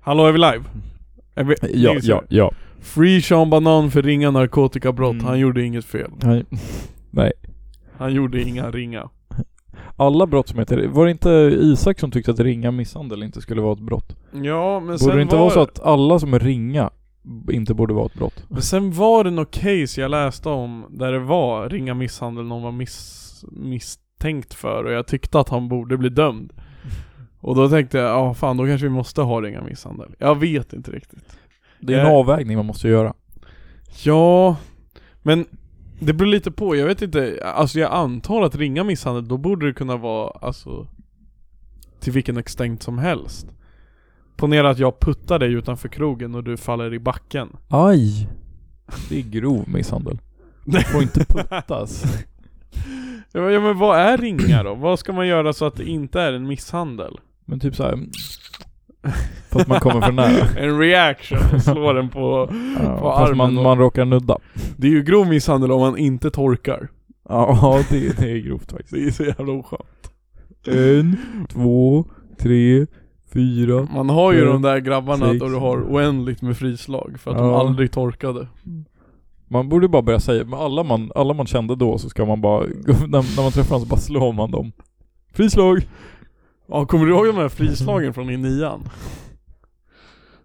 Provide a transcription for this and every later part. Hallå är vi live? Är vi, Ja, ni ser. ja, ja. Free Sean Banan för ringa narkotikabrott, Mm. han gjorde inget fel. Nej. Nej. Han gjorde inga ringa. Alla brott som heter... Var det inte Isak som tyckte att ringa misshandel inte skulle vara ett brott? Ja men sen Borde det inte var, vara så att alla som är ringa b- inte borde vara ett brott? men sen var det något case jag läste om där det var ringa misshandel någon var miss, misstänkt för och jag tyckte att han borde bli dömd. Och då tänkte jag, ja fan då kanske vi måste ha ringa misshandel. Jag vet inte riktigt. Det är en Eh. avvägning man måste göra. Ja, men det beror lite på. Jag vet inte, alltså jag antar att ringa misshandel, då borde det kunna vara alltså till vilken extent som helst. Ponera att jag puttar dig utanför krogen och du faller i backen. Aj! Det är grov misshandel. Du får inte puttas. Ja men- ja, men vad är ringa då? Vad ska man göra så att det inte är en misshandel? Men typ såhär... mm, Fast man kommer för nära. En reaction, slår den på... Ja, fast man, armen då. man råkar nudda. Det är ju grov misshandel om man inte torkar. Ja, det, det är grovt faktiskt. Det är så jävla oskönt. En, två, tre, fyra. Man har ju Mm. de där grabbarna Sex. då du har oändligt med frislag för att de Ja. aldrig torkade. Man borde bara börja säga, men alla man, alla man kände då så ska man bara, när, när man träffar dem så bara slår man dem. Frislag! Ja, kommer du ihåg de här frislagen från i nian?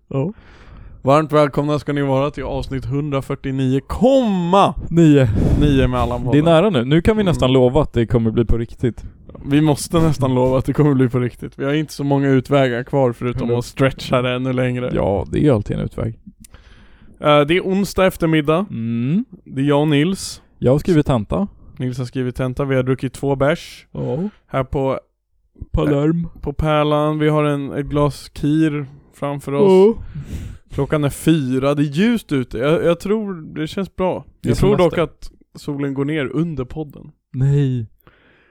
Ja. Varmt välkomna ska ni vara till avsnitt 149,9 Nio. med Allan Det är Podden. nära nu, nu kan vi nästan Mm. lova att det kommer bli på riktigt. Vi måste nästan lova att det kommer bli på riktigt. Vi har inte så många utvägar kvar förutom Eller- att stretcha det ännu längre. Ja, det är alltid en utväg. Eh, det är onsdag eftermiddag. Mm. Det är jag och Nils. Jag har skrivit tenta. Nils har skrivit tenta. Vi har druckit två bärs. Ja. Här på, Palerm. på Pärlan. Vi har en, ett glas kir framför oss. Mm. Klockan är fyra, det är ljust ute. Jag, jag tror det känns bra. Det är Jag tror dock semester. att solen går ner under podden. Nej.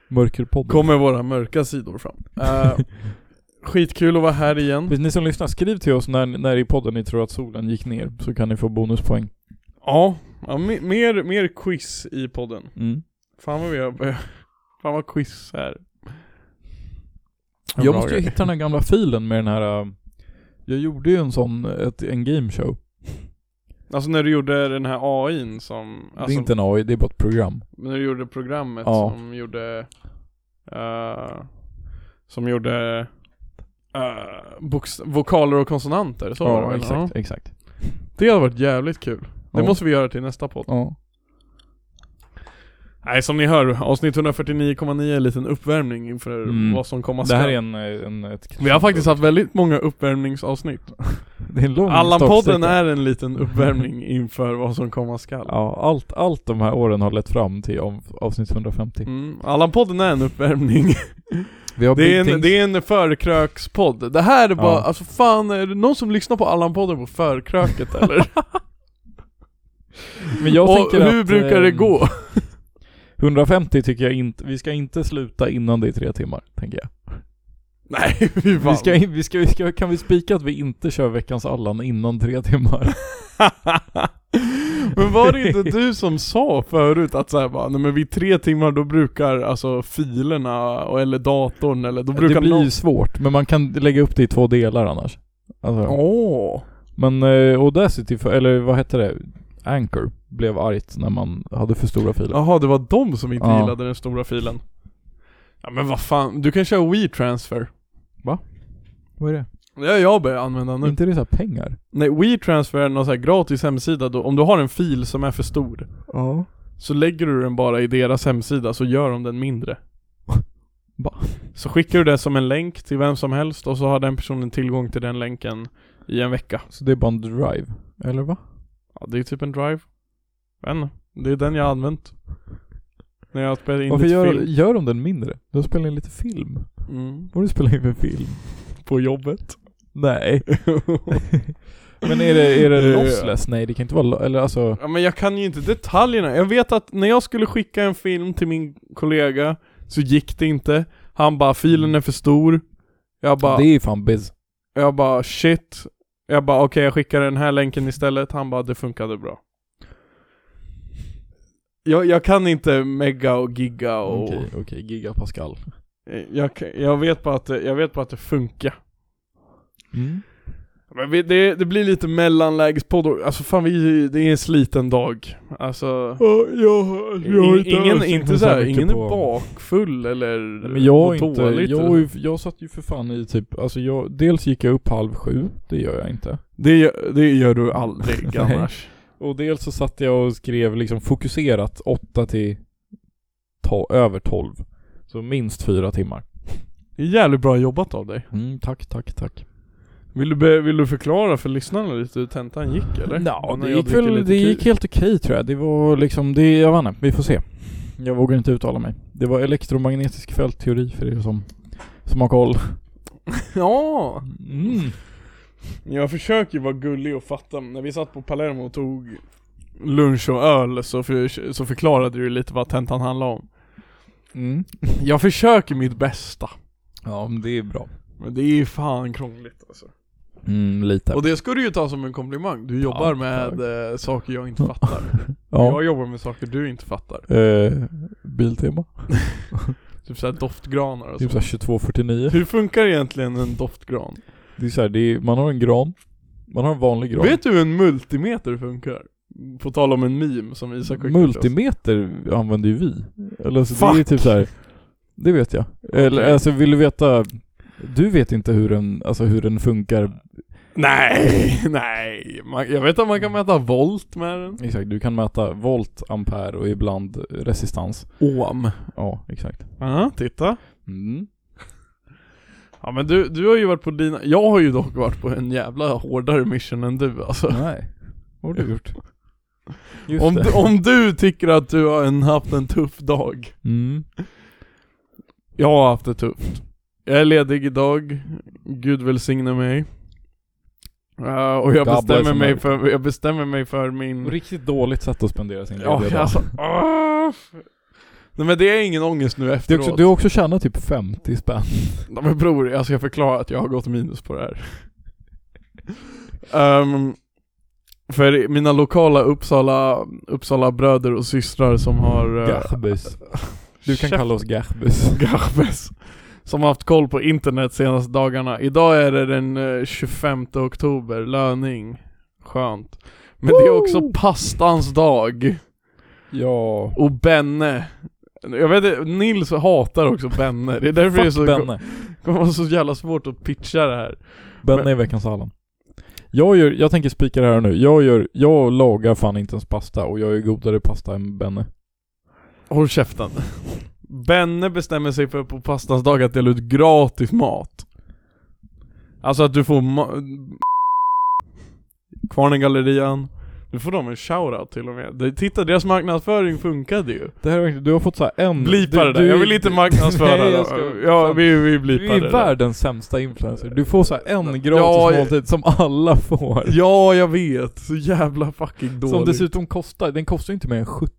Mörkerpodden. Kommer våra mörka sidor fram. Eh, skitkul att vara här igen. Precis, Ni som lyssnar, skriv till oss när, när i podden ni tror att solen gick ner, så kan ni få bonuspoäng. Ja, ja me- mer, mer quiz i podden. Fan vad vi har börjat- Fan vad quiz här. Jag måste ju hitta den här gamla filen med den här, äh, jag gjorde ju en sån, ett, en gameshow. Alltså när du gjorde den här AIn som... Alltså, det är inte en AI, det är bara ett program. När du gjorde programmet Ja. som gjorde... eh, som gjorde... eh, boks- vokaler och konsonanter, så var det väl? Ja. exakt, exakt. Det hade varit jävligt kul. Det Ja. måste vi göra till nästa podd. Ja. Nej som ni hör, avsnitt 149,9 är en liten uppvärmning inför Mm. vad som komma Det skall. här är en, eh, en ett, Vi har faktiskt haft väldigt många uppvärmningsavsnitt. det är en lång Allan-podden startsträcka. är en liten uppvärmning inför vad som komma skall. Ja, allt, allt de här åren har lett fram till om, avsnitt 150. Mm. Allan-podden är en uppvärmning. Vi har Det är, en, Big det Things. är en förkrökspodd. Det här är bara, Ja. alltså fan, är det någon som lyssnar på Allan-podden på förkröket eller? Men jag och tänker hur att, brukar det ehm, gå? 150 tycker jag inte, vi ska inte sluta innan det är tre timmar, tänker jag. Nej, fy fan. Vi ska, in- vi ska, vi ska, kan vi spika att vi inte kör veckans Allan innan tre timmar? men var det inte du som sa förut att så här, bara, nej men vid tre timmar då brukar alltså filerna och, eller datorn eller då brukar det blir någon... ju svårt, men man kan lägga upp det i två delar annars. Alltså. Åh! Men eh, Audacity, för, eller vad hette det? Anchor blev argt när man hade för stora filer. Jaha, det var de som inte Ja. gillade den stora filen. Ja men vad fan, du kan köra WeTransfer. Vad är det? Det har jag börjat använda nu. inte det så här pengar? Nej, WeTransfer är någon så här gratis hemsida då, om du har en fil som är för stor Ja. Så lägger du den bara i deras hemsida så gör de den mindre Va? Så skickar du det som en länk till vem som helst och så har den personen tillgång till den länken i en vecka Så det är bara en drive? Eller va? Ja det är typ en drive Men, det är den jag har använt När jag har spelat in Varför lite gör, film gör de den mindre? De spelar in lite film. mm. Borde spela in för film? På jobbet Nej. Men är det, är det Eh. lossless? Nej det kan inte vara lo- eller alltså... Ja men jag kan ju inte detaljerna. Jag vet att när jag skulle skicka en film till min kollega så gick det inte. Han bara 'filen är för stor' Jag bara, Det är ju fan biz. jag bara 'shit' Jag bara okej jag skickar den här länken istället. Han bara 'det funkade bra' Jag, jag kan inte mega och giga och... Okej, okej. Gigapascal. Jag, kan- jag, vet bara att, det- jag vet bara att det funkar. Mm. Men vi, det, det blir lite mellanlägespodd, alltså fan vi, det är en sliten dag. Alltså, Ja, jag, jag har in- inte ingen, alls inte tänkt så här, mycket ingen är på- bakfull eller Nej, Men jag mår har inte, dåligt. jag, har ju- jag satt ju för fan i typ, alltså jag, dels gick jag upp halv sju, det gör jag inte. det, gör- det gör du aldrig Nej. annars. Och dels så satt jag och skrev liksom fokuserat 8 till to- över 12. Så minst fyra timmar. Det är jävligt bra jobbat av dig. Mm, tack, tack, tack. Vill du, be, vill du förklara för lyssnarna lite hur tentan gick eller? Ja, När det jag gick dricker väl, lite det kul. gick helt okej tror jag. Det var liksom, det, jag vet inte, vi får se. Jag vågar inte uttala mig. Det var elektromagnetisk fältteori för er som, som har koll. Ja! Mm. Jag försöker ju vara gullig och fatta, men när vi satt på Palermo och tog lunch och öl så, för, så förklarade du lite vad tentan handlade om. Mm. Jag försöker mitt bästa. Ja, men det är bra. Men det är fan krångligt alltså. Mm, lite. Och det ska du ju ta som en komplimang. Du jobbar Ja, med eh, saker jag inte fattar. Ja. Jag jobbar med saker du inte fattar. Eh, Biltema. Typ såhär doftgranar och Typ så. såhär 2249. Hur funkar egentligen en doftgran? Det är såhär, det är, man har en gran. Man har en vanlig gran. Vet du hur en multimeter funkar? På tal om en meme som Isak skickade till oss. Multimeter använder ju vi. Eller så det är Fuck! typ såhär. Det vet jag. Eller Okej. alltså vill du veta? Du vet inte hur den, alltså hur den funkar. Nej, nej. Man, jag vet att man kan mäta volt med den. Exakt, du kan mäta volt, ampere och ibland resistans. Ohm. Ja, exakt. Ja, titta. Mm. Ja men du, du har ju varit på dina, jag har ju dock varit på en jävla hårdare mission än du alltså. Nej. Vad har du gjort? Just Om, det. du- om du tycker att du har en, haft en tuff dag. Mm. Jag har haft det tufft. Jag är ledig idag, Gud välsigne mig. Eh, och jag Gabba är bestämmer, som mig möjligt. för, jag bestämmer mig för min... Riktigt dåligt sätt att spendera sin Ja, lediga dag. alltså, ah! Nej men det är ingen ångest nu Du, efteråt. också, du har också tjänat typ 50 spänn. Nej men bror, jag ska förklara att jag har gått minus på det här. Ehm, för mina lokala Uppsala, Uppsala bröder och systrar som har... eh, Garbus. Du kan käft- kalla oss Garbus. Garbes. Som har haft koll på internet senaste dagarna. Idag är det den eh, 25 oktober, löning. Skönt. Men det är också Woo! pastans dag. Ja. Och Benne. Jag vet inte, Nils hatar också Benne. Det är därför det är Fuck så, Benne. kommer vara så jävla svårt att pitcha det här. Benne Men- är veckans Allan. Jag, gör, jag tänker spika det här nu. Jag, gör, jag lagar fan inte ens pasta och jag är godare pasta än Benne. Håll käften. Benne bestämmer sig för på pastans dag att dela ut gratis mat. Alltså att du får ma- Kvarnengallerian. Du får dem en shoutout till och med. Det- Titta, deras marknadsföring funkade ju. Det här är verkligen, du har fått så här en... Blipa Mm. du, det där, du- jag vill inte marknadsföra Nej, det. jag ska, Ja, fan, vi, vi Du blipar är det där. världens sämsta influencer. Du får så här en gratis Ja, jag- måltid som alla får. Ja, jag vet. Så jävla fucking dåligt. Som dessutom kostar, den kostar ju inte mer än 70.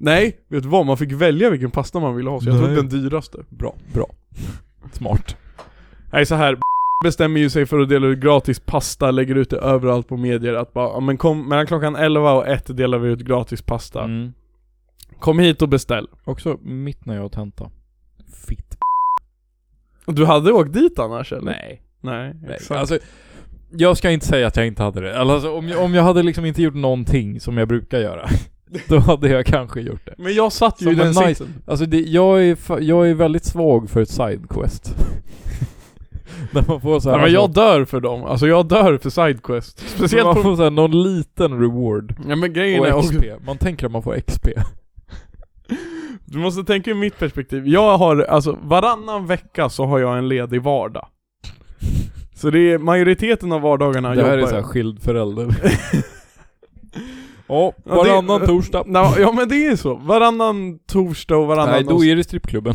Nej, vet du vad? Man fick välja vilken pasta man ville ha, så jag tog Nej. den dyraste. Bra, bra. Smart. Nej så här bestämmer ju sig för att dela ut gratis pasta, lägger ut det överallt på medier att bara, "Ja, men kom, mellan klockan 11 och 1 delar vi ut gratis pasta. Mm. Kom hit och beställ. Också mitt när jag har tenta. Fitt. Du hade åkt dit annars eller? Nej, Nej, exakt. Alltså, jag ska inte säga att jag inte hade det. Alltså, om, jag, om jag hade liksom inte gjort någonting som jag brukar göra, då hade jag kanske gjort det. Men jag satt ju Som i den en nice- sitsen. Alltså det, jag, är, fa- jag är väldigt svag för ett sidequest. När man får såhär, Nej, men jag dör för dem, alltså jag dör för sidequest. alltså, Speciellt man på... får såhär någon liten reward. Ja men grejen är Och också, XP. Man tänker att man får XP. du måste tänka ur mitt perspektiv. Jag har, alltså varannan vecka så har jag en ledig vardag. Så det är majoriteten av vardagarna det jobbar här är jag. såhär skild förälder. Ja, Ja, det- varannan torsdag. Nej, Ja men det är så, varannan torsdag och varannan Nej, då är det strippklubben.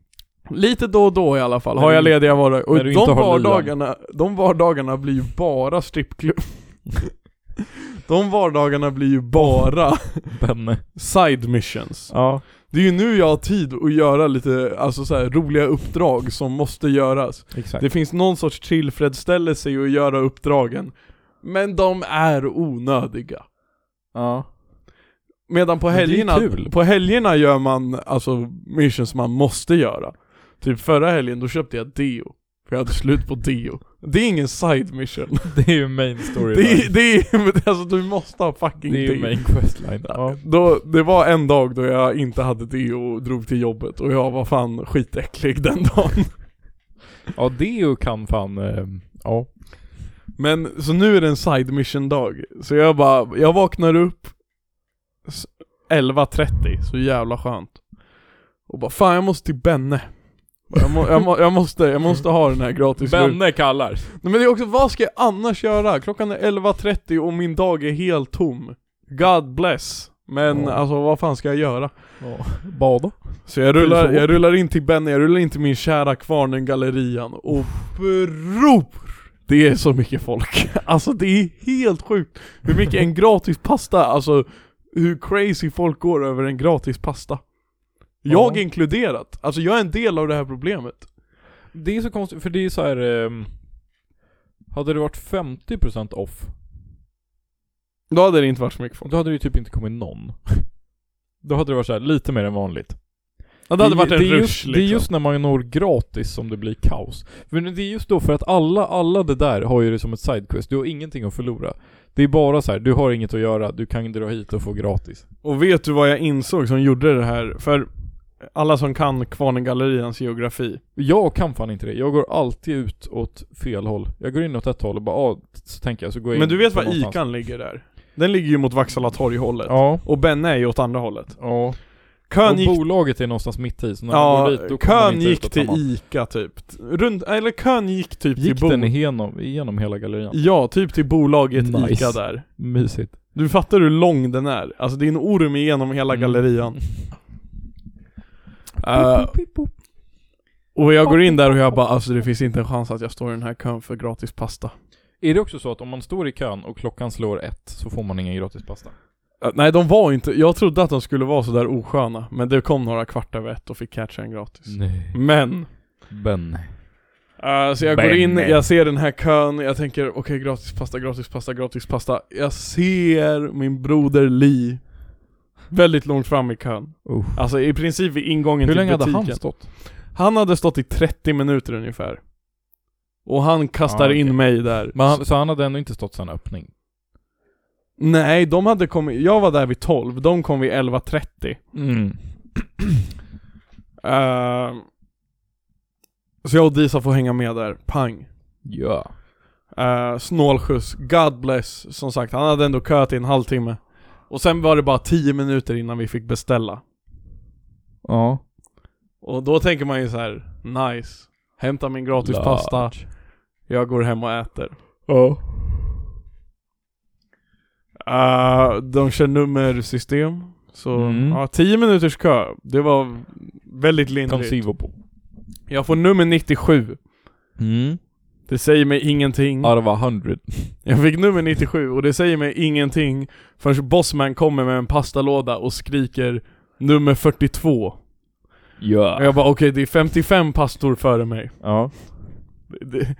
Lite då och då i alla fall, När har du- jag lediga vardagar. Och när du de inte har luren. vardagarna, de vardagarna blir ju bara strippklubb. de vardagarna blir ju bara Benne. side missions. Ja. Det är ju nu jag har tid att göra lite, alltså så här, roliga uppdrag som måste göras. Exakt. Det finns någon sorts tillfredsställelse i att göra uppdragen. Men de är onödiga. Ja. Medan på Men det är helgerna, kul. på helgerna gör man alltså missions man måste göra. Typ förra helgen, då köpte jag deo. För jag hade slut på deo. Det är ingen side mission. Det är ju main story. Det är, det är, alltså du måste ha fucking det är ju main questline. Ja. Då, det var en dag då jag inte hade det och drog till jobbet och jag var fan skitäcklig den dagen. ja, det är ju kan fan... eh, Ja. Men så nu är det en side mission dag. Så jag bara, jag vaknar upp s- 11.30, så jävla skönt. Och bara fan jag måste till Benne. Och Jag, må, jag, må, jag, måste, jag måste ha den här gratis nu. Benne kallar. Nej, men det är också, vad ska jag annars göra? Klockan är 11.30 och min dag är helt tom. God bless. Men Ja. alltså vad fan ska jag göra? Ja. Bada. Så jag rullar, Fy fan. jag rullar in till Benny, jag rullar in till min kära Kvarnen Gallerian och bror! Det är så mycket folk. Alltså det är helt sjukt hur mycket en gratis pasta, alltså hur crazy folk går över en gratis pasta. Jag Ja. inkluderat. Alltså jag är en del av det här problemet. Det är så konstigt, för det är så här. ehm, hade det varit 50% off, Då hade det inte varit så mycket folk. då hade det ju typ inte kommit någon. Då hade det varit så här lite mer än vanligt. Ja, det hade varit en det är rush just, liksom. Det är just när man når gratis som det blir kaos. Men det är just då för att alla, alla det där har ju det som ett sidequest. Du har ingenting att förlora. Det är bara så här, du har inget att göra, du kan dra hit och få gratis. Och vet du vad jag insåg som gjorde det här? För alla som kan Kvarnengallerians geografi. Jag kan fan inte det. Jag går alltid ut åt fel håll. Jag går in åt ett håll och bara, ah, så tänker jag, så går jag Men in du vet på var någonstans. Ican ligger där? Den ligger ju mot Vaksala torg-hållet. Ja. Och Benne är ju åt andra hållet. Ja. Kön och gick, bolaget är någonstans mitt i, så när man ja, går dit då kommer man kön inte ut gick åt till samma- Ica typ. Runt, eller kön gick typ Gick till den bo- igenom, igenom hela gallerian? Ja, typ till bolaget Nice. Ica där. Mysigt. Du fattar hur lång den är. Alltså det är en orm igenom hela Mm. gallerian. Eh, och jag går in där och jag bara alltså det finns inte en chans att jag står i den här kön för gratis pasta. Är det också så att om man står i kön och klockan slår ett så får man ingen gratis pasta? Eh, Nej de var inte, jag trodde att de skulle vara sådär osköna Men det kom några kvart över ett och fick catcha en gratis Nej. Men Ben. Eh, så jag går Benne. in, jag ser den här kön, jag tänker okej gratis pasta, gratis pasta, gratis pasta Jag ser min broder Li Väldigt långt fram i kön Uh. Alltså i princip vid ingången Hur till länge hade typ butiken han stått? Han hade stått i 30 minuter ungefär Och han kastar Ah, okej. in mig där Men han, så han hade ändå inte stått sedan öppning? Nej, de hade kommit, jag var där vid 12, de kom vid 11.30 Mm. Ehm, så jag och Disa får hänga med där, pang. Ja. Uh, snålskjuts, God bless, som sagt han hade ändå köat i en halvtimme. Och sen var det bara 10 minuter innan vi fick beställa. Ja. Och då tänker man ju så här: nice. Hämta min gratis Large. pasta, jag går hem och äter. Ja. Eh, de kör nummersystem, så Mm. ja, 10 minuters kö. Det var väldigt lindrigt. Consivo på. Jag får nummer 97. Mm. Det säger mig ingenting. Arva 100. Jag fick nummer 97 och det säger mig ingenting förrän Bossman kommer med en pastalåda och skriker nummer 42. Och Ja. jag bara okej, det är 55 pastor före mig. Ja. Det-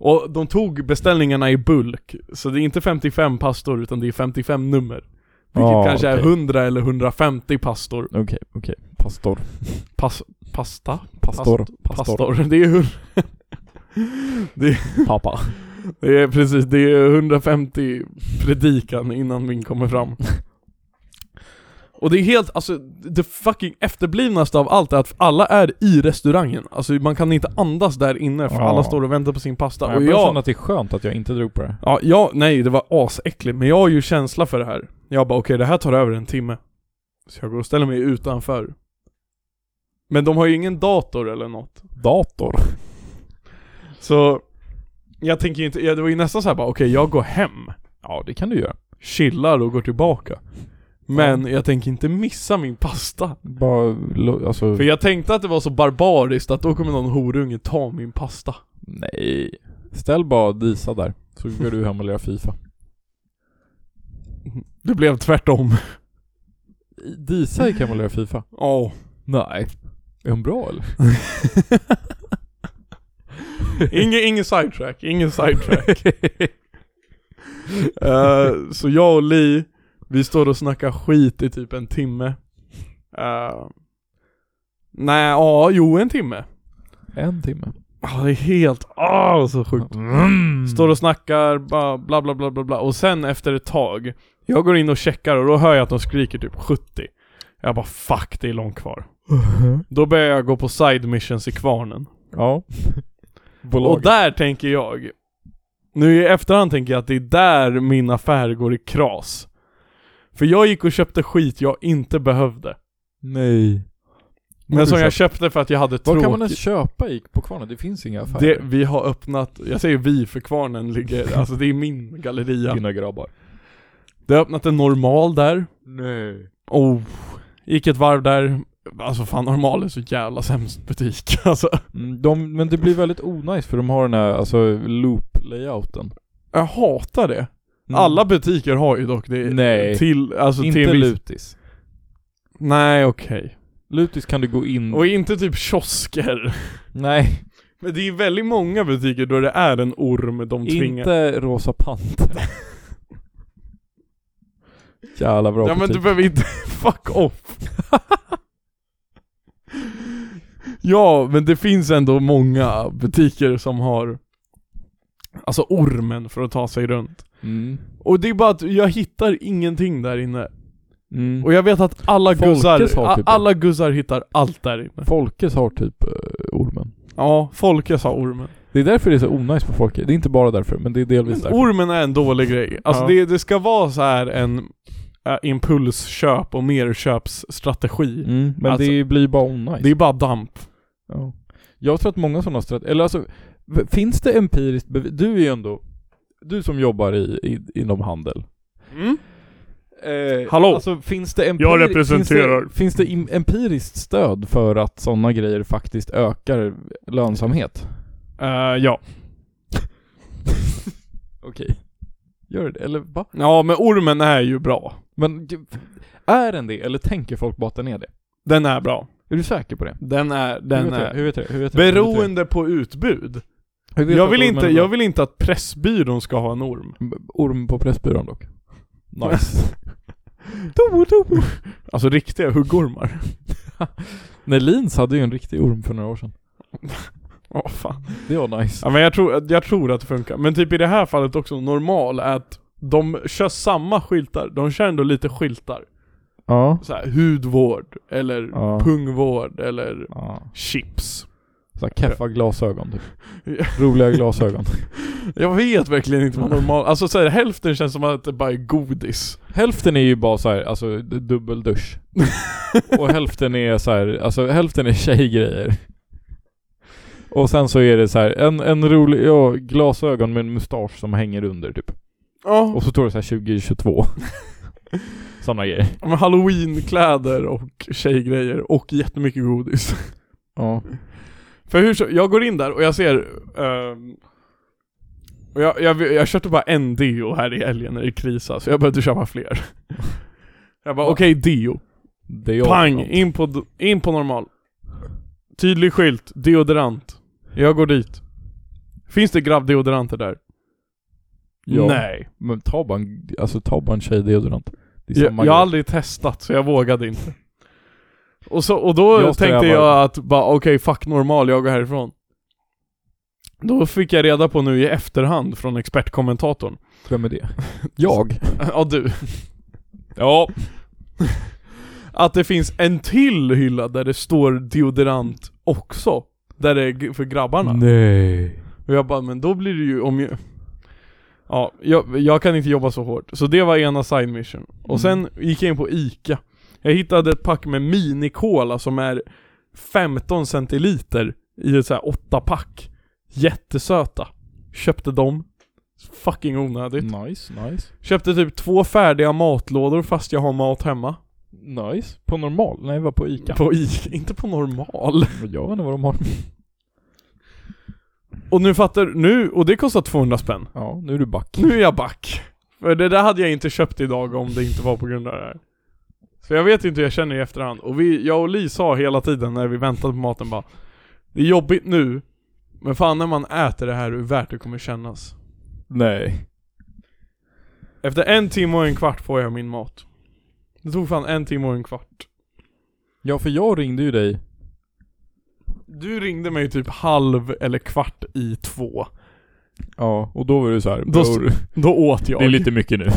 Och de tog beställningarna i bulk, så det är inte 55 pastor utan det är 55 nummer. Vilket Ah, kanske är okej. 100 eller 150 pastor. Okej, okej. Pastor. Pas, pasta? Pastor. Pastor. Det är hur... Pappa. Det är precis, det är 150 predikan innan min kommer fram. Och det är helt, alltså det fucking efterblivnaste av allt är att alla är i restaurangen. Alltså man kan inte andas där inne för Ja. alla står och väntar på sin pasta. Jag Och börjar känna jag, att det är skönt att jag inte drog på det. ja, jag, nej det var asäckligt, men jag har ju känsla för det här. Jag bara okej det här tar över en timme. Så jag går och ställer mig utanför. Men de har ju ingen dator eller något. Dator. Så jag tänker ju inte, ja, det var ju nästan så här bara okej jag går hem, Ja, det kan du göra. chillar och går tillbaka. Men jag tänker inte missa min pasta. Bara, lo- alltså... För jag tänkte att det var så barbariskt att då kommer någon horunge ta min pasta. Nej. Ställ bara Disa där, så går du hem och lirar Fifa. Det blev tvärtom. Disa gick hem och lirade Fifa? Ja. Nej. Är hon bra eller? Ingen, ingen sidetrack, ingen sidetrack. Eh, så jag och Li, vi står och snackar skit i typ en timme. Eh, nej, ja, jo en timme. En timme. ah, det är helt, ah så sjukt. Mm. Står och snackar, ba- bla bla bla bla bla. Och sen efter ett tag, jag går in och checkar och då hör jag att de skriker typ 70. Jag bara fuck, det är långt kvar. Då börjar jag gå på side missions i kvarnen. Ja. Och Bolaget. där tänker jag, nu i efterhand tänker jag att det är där min affär går i kras. För jag gick och köpte skit jag inte behövde. Nej. Men som jag köpte för att jag hade Vad kan man ens tråkigt. köpa i, på kvarnen? Det finns inga affärer. Det, vi har öppnat, jag säger vi för kvarnen ligger, alltså det är min galleria. Dina grabbar. Det har öppnat en normal där. Nej. Oh, gick ett varv där. Alltså fan normal är så jävla sämst butik alltså. Mm, de, men det blir väldigt onajs för de har den här alltså, loop-layouten. Jag hatar det. Mm. Alla butiker har ju dock det. Nej. Till, alltså Inte till en viss- lutis. Nej okej. Lutis kan du gå in... Och inte typ kiosker. Nej, Men det är väldigt många butiker då det är en orm de tvingar. inte Rosa Panter. Jävla bra typ- Ja men du butik. behöver inte, fuck off. ja men det finns ändå många butiker som har Alltså ormen för att ta sig runt. Mm. Och det är bara att jag hittar ingenting där inne. Mm. Och jag vet att alla Folkes guzzar, har a- typ det. alla guzzar hittar allt där inne. Folkes har typ eh, ormen. Ja, Folkes har ormen. Det är därför det är så onajs på Folkets. Det är inte bara därför, men det är delvis Men därför. ormen är en dålig grej. Alltså Ja. det, det ska vara så här en äh, impulsköp och merköpsstrategi. Mm, men Alltså- det blir bara onajs. Det är bara damp. Ja. Jag tror att många sådana strategier, eller alltså, v- finns det empiriskt bevis? Du är ju ändå, du som jobbar i, i, inom handel. Mm. Eh, Hallå? Alltså finns det, empiri- Jag representerar. finns det, finns det im- empiriskt stöd för att sådana grejer faktiskt ökar lönsamhet? Eh, ja. Okej. Gör det, eller va? Ja men ormen är ju bra. Men g- är den det, eller tänker folk bara att den är det? Den är bra. Är du säker på det? Den är, hur den vet jag? är. Hur vet jag? Hur vet jag? Beroende på utbud. Hur vet Jag att vill, ormen inte, är bra? jag vill inte att Pressbyrån ska ha en orm. Orm på Pressbyrån dock. Nice. Alltså riktiga huggormar. Nej, Lins hade ju en riktig orm för några år sedan. Åh fan. Det var nice. Ja men jag tror, jag tror att det funkar. Men typ i det här fallet också, normal är att de kör samma skyltar, de kör ändå lite skyltar. Ja. Så här, hudvård, eller Ja. pungvård, eller ja. chips. Såhär keffa glasögon typ. Ja. Roliga glasögon. Jag vet verkligen inte vad normal, alltså så här, hälften känns som att det bara är godis. Hälften är ju bara såhär, alltså d- dubbeldusch. Och hälften är såhär, alltså hälften är tjejgrejer. Och sen så är det så här en, en rolig, ja, glasögon med en mustasch som hänger under typ. Ja, Och så står det så här 2022. Sådana grejer. men halloweenkläder och tjejgrejer och jättemycket godis. Ja. För hur så, jag går in där och jag ser ehm, och jag, jag, jag köpte bara en deo här i helgen när det krisade, så jag behövde köpa fler. Jag bara okej deo, Det är jag. pang, in på, d- in på normal. Tydlig skylt, deodorant. Jag går dit. Finns det grabbdeodoranter där? Ja. Nej. Men ta bara en, alltså ta bara en tjejdeodorant. Det är Jag, samma jag har grej. aldrig testat så jag vågade inte. Och, så, och då Jag strävar. tänkte jag att bara okej, fuck normal, jag går härifrån. Då fick jag reda på nu i efterhand från expertkommentatorn. Vem är det? Jag? ja du. ja. Att det finns en till hylla där det står deodorant också. Där det är g- för grabbarna. Nej. Och jag bara, men då blir det ju om jag... Ja, jag, jag kan inte jobba så hårt. Så det var ena side mission. Och Mm. sen gick jag in på Ica. Jag hittade ett pack med mini-cola som är 15 centiliter i ett så här åtta pack. Jättesöta. Köpte dem. Fucking onödigt. Nice, nice. Köpte typ två färdiga matlådor fast jag har mat hemma. Nice. På normal? Nej, var på Ica. På Ica, inte på normal. Jag vet inte vad de har. Och nu fattar nu, och det kostar 200 spänn. Ja, nu är du back. Nu är jag back. För det där hade jag inte köpt idag om det inte var på grund av det här. Så jag vet inte hur jag känner i efterhand. Och vi, jag och Li sa hela tiden när vi väntade på maten bara Det är jobbigt nu, men fan när man äter det här hur värt det kommer kännas. Nej. Efter en timme och en kvart får jag min mat. Det tog fan en timme och en kvart. Ja, för jag ringde ju dig Du ringde mig typ halv eller kvart i två. Ja, och då var du så här, Då s- bror, Då åt jag. det är lite mycket nu.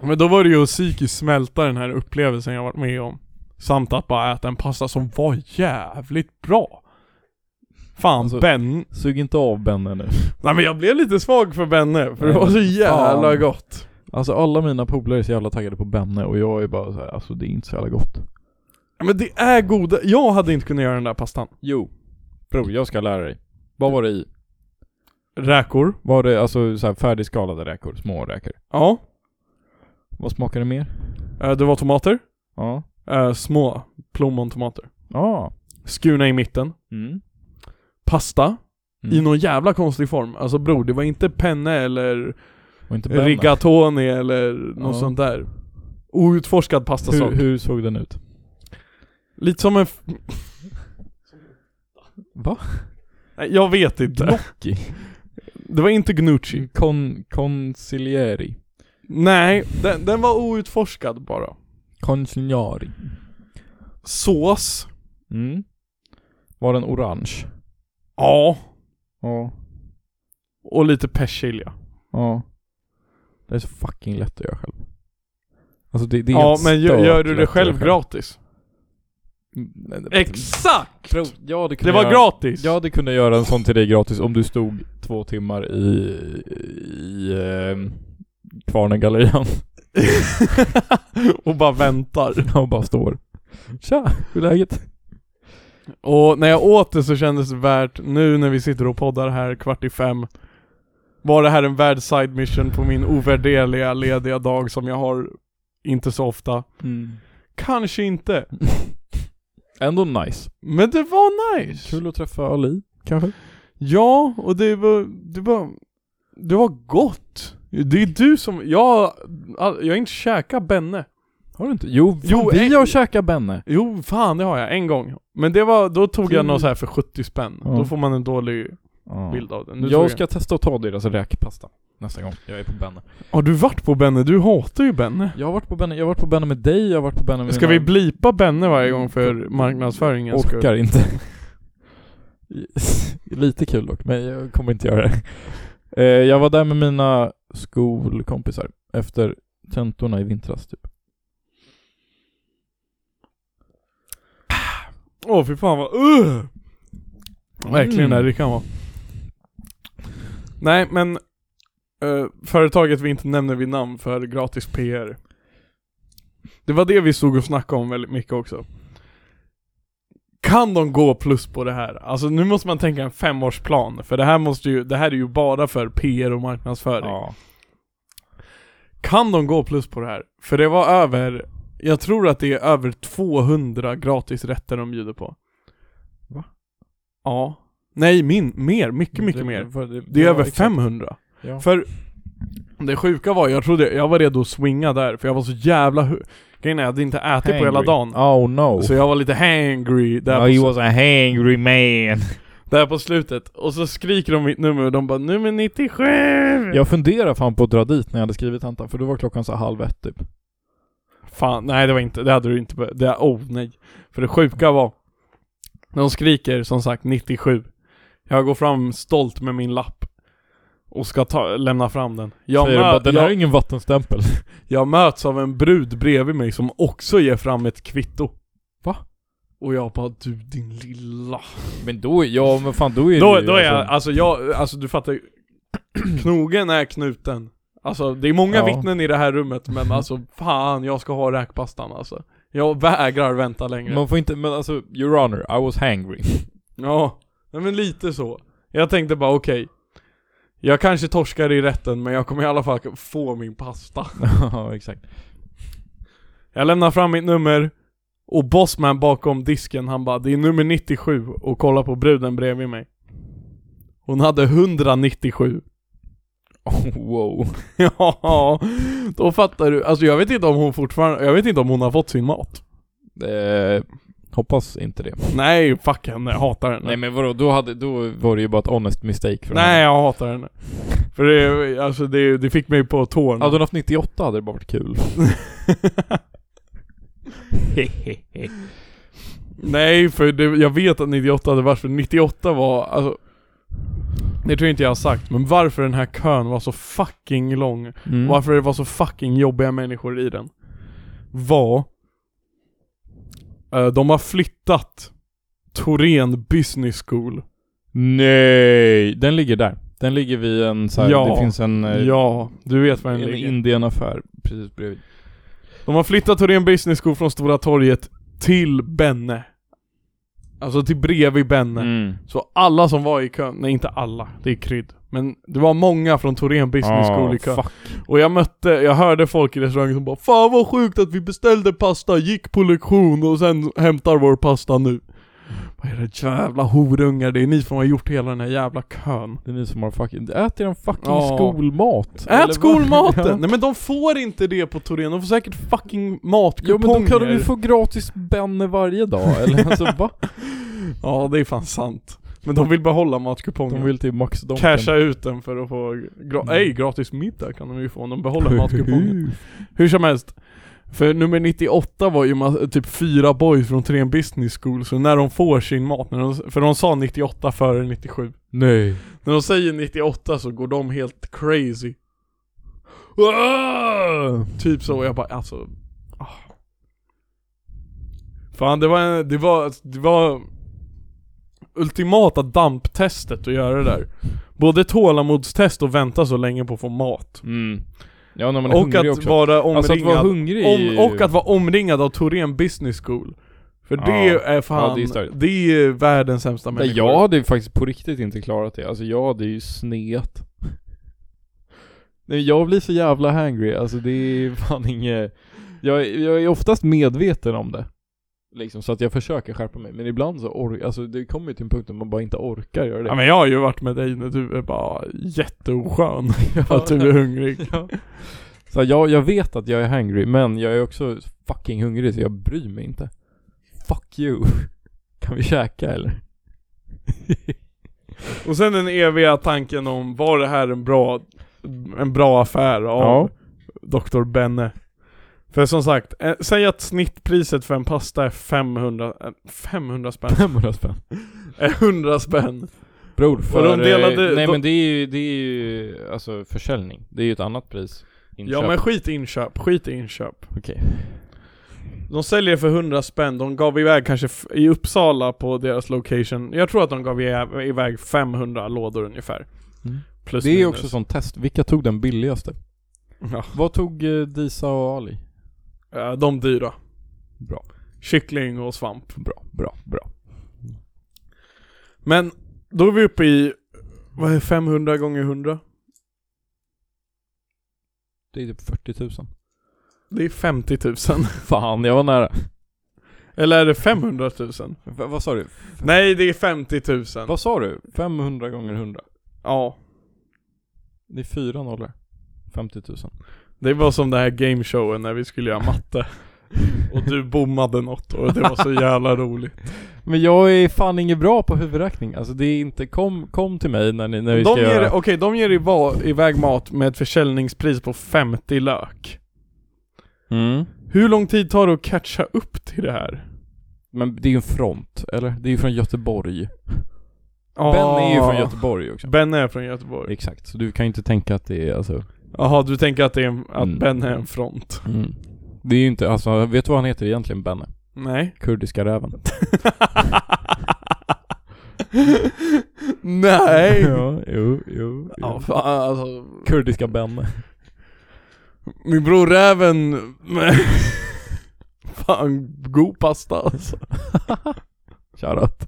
Men då var det ju att psykiskt smälta den här upplevelsen jag varit med om. Samt att bara äta en pasta som var jävligt bra. Fan Alltså- Ben. Sug inte av Benne nu. Nej men jag blev lite svag för Benne, för det Nej, var så men jävla fan. gott. Alltså alla mina polare är så jävla taggade på Benne och jag är bara så här, alltså det är inte så jävla gott. Ja, Men det är goda, jag hade inte kunnat göra den där pastan. Jo. Bror, jag ska lära dig. Vad var det i? Räkor. Var det alltså så här färdigskalade räkor? Små räkor? Ja. Vad smakar det mer? Eh, Det var tomater. Ja. Eh, Små plommontomater. Ja. Skurna i mitten. Mm. Pasta. Mm. I någon jävla konstig form. Alltså bror, det var inte penne eller Och inte Benne. rigatoni eller något Ja. sånt där. Outforskad pastasort. Hur, hur såg den ut? Lite som en... F- Va? Nej, jag vet inte. Gnocchi? Det var inte gnucci. Con, consiglieri? Nej, den, den var outforskad bara. Consigliari? Sås. Mm. Var den orange? Ja. Ja. Och lite persilja. Ja. Det är så fucking lätt att göra själv. Alltså det, det är Ja, helt men gör, stört gör du lätt det att göra själv gratis? Mm, nej, det- Exakt! Bro, jag hade Det kunnat var göra, gratis! Jag hade kunnat göra en sån till dig gratis om du stod två timmar i... i eh, Kvarnengallerian och bara väntar. och bara står. Tja, hur är läget? Och när jag åt det så kändes det värt, nu när vi sitter och poddar här kvart i fem Var det här en värd side mission på min ovärderliga lediga dag som jag har inte så ofta? Kanske inte, Ändå nice. men det var nice! Kul att träffa Ali, kanske? Ja, och det var, det var, det var gott! Det är du som, jag, jag har inte käkat benne Har du inte? Jo, fan, Jo, vi en- har käkat Benne. Jo, fan det har jag, en gång Men det var, då tog jag Mm. något så här för 70 spänn, Ja. då får man en dålig Ja. bild av den Nu tog Jag ska testa att ta deras räkpasta nästa gång jag är på Benne. Har du varit på Benne? Du hatar ju Benne Jag har varit på Benne, jag har varit på Benne med dig, jag har varit på Benne med Ska vi mina- blipa Benne varje gång för marknadsföringen Orkar inte. Lite kul dock, men jag kommer inte göra det. Eh, Jag var där med mina skolkompisar efter tentorna i vintras typ. Åh fy fan vad uh! Verkligen Mm. det kan vara Nej men eh, Företaget vi inte nämner vid namn för gratis PR Det var det vi stod och snackade om väldigt mycket också Kan de gå plus på det här? Alltså nu måste man tänka en femårsplan För det här måste ju, det här är ju bara för PR och marknadsföring Kan de gå plus på det här? För det var över, jag tror att det är över 200 gratisrätter de bjuder på. Va? Ja. Nej, min, mer, mycket, mycket Det- mer. för det- Det är ja, över exakt. 500. Ja. För det sjuka var, jag trodde, jag var redo att swinga där, för jag var så jävla hu- Grejen är, jag hade inte ätit typ på hela Hangry. dagen. Oh no. Så jag var lite hangry där, no, på, he sl- was a hangry man. där på slutet. Och så skriker de mitt nummer och de bara 'Nummer 97!' Jag funderade fan på att dra dit när jag hade skrivit tentan, för då var klockan så här halv ett typ. Fan, nej det var inte, det hade du inte be- det, oh nej. För det sjuka var, de skriker som sagt 97. Jag går fram stolt med min lapp. Och ska ta, lämna fram den. Jag, Säger de bara, mö, den här är jag, ingen vattenstämpel. jag möts av en brud bredvid mig som också ger fram ett kvitto. Va? Och jag bara du din lilla. Men då, ja men fan då är Då, det ju- då är jag, alltså jag, alltså du fattar ju. Knogen är knuten. Alltså det är många Ja. vittnen i det här rummet men alltså fan jag ska ha räkpastan alltså. Jag vägrar vänta längre. Man får inte, men alltså, your honor, I was hangry. Ja, nej men lite så. Jag tänkte bara okej, jag kanske torskar i rätten men jag kommer i alla fall få min pasta. Ja, exakt. Jag lämnar fram mitt nummer och bossman bakom disken han bara det är nummer 97 och kollar på bruden bredvid mig. Hon hade 197. Oh, wow. ja, då fattar du. Alltså jag vet inte om hon fortfarande, jag vet inte om hon har fått sin mat. Eh, hoppas inte det. Nej, fuck henne, jag hatar henne. Nej men vadå, då, hade, då var det ju bara ett honest mistake från Nej, henne. jag hatar henne. För det, alltså det, det fick mig på tårna. Hade hon haft 98 hade det bara varit kul. Nej, för det, jag vet att 98 hade varit, för 98 var alltså det tror jag inte jag har sagt, men varför den här kön var så fucking lång, Mm. varför det var så fucking jobbiga människor i den, var... eh, de har flyttat Torén Business School. Nej, den ligger där. Den ligger vid en så här, Ja. det finns en, eh, Ja, du vet var den en ligger. Indienaffär precis bredvid. De har flyttat Thorén Business School från Stora torget till Benne. Alltså till bredvid Benne. Mm. Så alla som var i kön, nej inte alla, det är krydd. Men det var många från Thorén Business School i kön. fuck. Och jag mötte, jag hörde folk i restaurangen som bara 'Fan vad sjukt att vi beställde pasta, gick på lektion och sen hämtar vår pasta nu' Vad är det jävla horungar, det är ni som har gjort hela den här jävla kön. Det är ni som har fucking, ät er en fucking Ja. skolmat. Eller Ah. Ät vad? skolmaten! Ja. Nej men de får inte det på Torén, de får säkert fucking Jo matkuponger. men då kan de ju få gratis benne varje dag, eller alltså va? Ja det är fan sant. Men de vill behålla matkupongen. De vill till Max Donken. Casha ut den för att få, gra- nej gratis middag kan de ju få om de behåller matkupongen. Hur som helst. För nummer 98 var ju ma- typ fyra boys från Trén Business School, så när de får sin mat, när de, för de sa 98 före 97. Nej. När de säger 98 så går de helt crazy. Typ så, och jag bara alltså... ah. Fan det var, en, det var, det var ultimata damptestet att göra det där. Både tålamodstest och vänta så länge på att få mat. Mm. Ja när man är Och hungrig att också. vara alltså att omringad, vara hungrig om, och att vara omringad av Torén Business School. För Ja. det är fan, Ja, det är det, är störigt. världens sämsta Nej, människor. jag hade ju faktiskt på riktigt inte klarat det. Alltså jag hade ju sneat. Nej, jag blir så jävla hangry. Alltså det är fan inget... Jag, är- jag är oftast medveten om det. Liksom, så att jag försöker skärpa mig. Men ibland så orkar... Alltså det kommer ju till en punkt där man bara inte orkar göra det. Ja, men jag har ju varit med dig när du är bara jätteoskön. att du är hungrig. Ja. Så jag, jag vet att jag är hangry, men jag är också fucking hungrig så jag bryr mig inte. Fuck you. Kan vi käka eller? Och sen den eviga tanken om, var det här en bra, en bra affär av Dr. Benne? För som sagt, eh, säg att snittpriset för en pasta är 500, eh, 500 spänn, 500 spänn. Eh, 100 spänn. Bror, för... de delade- eh, nej de- men det är ju, det är ju, alltså försäljning. Det är ju ett annat pris. Inköp. Ja men skit i inköp, skit i inköp. Okej. De säljer för 100 spänn, de gav iväg kanske f- i Uppsala på deras location, jag tror att de gav i- iväg 500 lådor ungefär. Mm. Plus Det är ju minus. också sånt test. Vilka tog den billigaste? Ja, Vad tog eh, Disa och Ali? eh, de dyra. Bra. Kyckling och svamp. Bra, bra, bra. Men då är vi uppe i, vad är 500 gånger 100? Det är typ 40 000. Det är 50 000. Fan, jag var nära. Eller är det 500 000? V- vad sa du? Nej det är 50 000. Vad sa du? 500 gånger 100? Ja. Det är fyra nollor. 50 000. Det var som den här gameshowen när vi skulle göra matte. Och du bommade något och det var så jävla roligt. Men jag är fan inget bra på huvudräkning. Alltså det är inte, kom, kom till mig när, ni, när vi De ska ger, göra... okej, de ger iva- iväg mat med ett försäljningspris på 50 lök. Mm. Hur lång tid tar det att catcha upp till det här? Men det är ju en front, eller? Det är ju från Göteborg. Ah. Ben är ju från Göteborg också. Ben är från Göteborg. Exakt, så du kan ju inte tänka att det är alltså... Jaha, du tänker att, det är en, att Mm. Ben är en front? Det är ju inte, alltså vet du vad han heter egentligen Benne? Nej. Kurdiska räven. Nej! Ja, jo, jo. jo. fan, alltså. Kurdiska Benne. Min bror Räven... fan, god pasta alltså. Shoutout.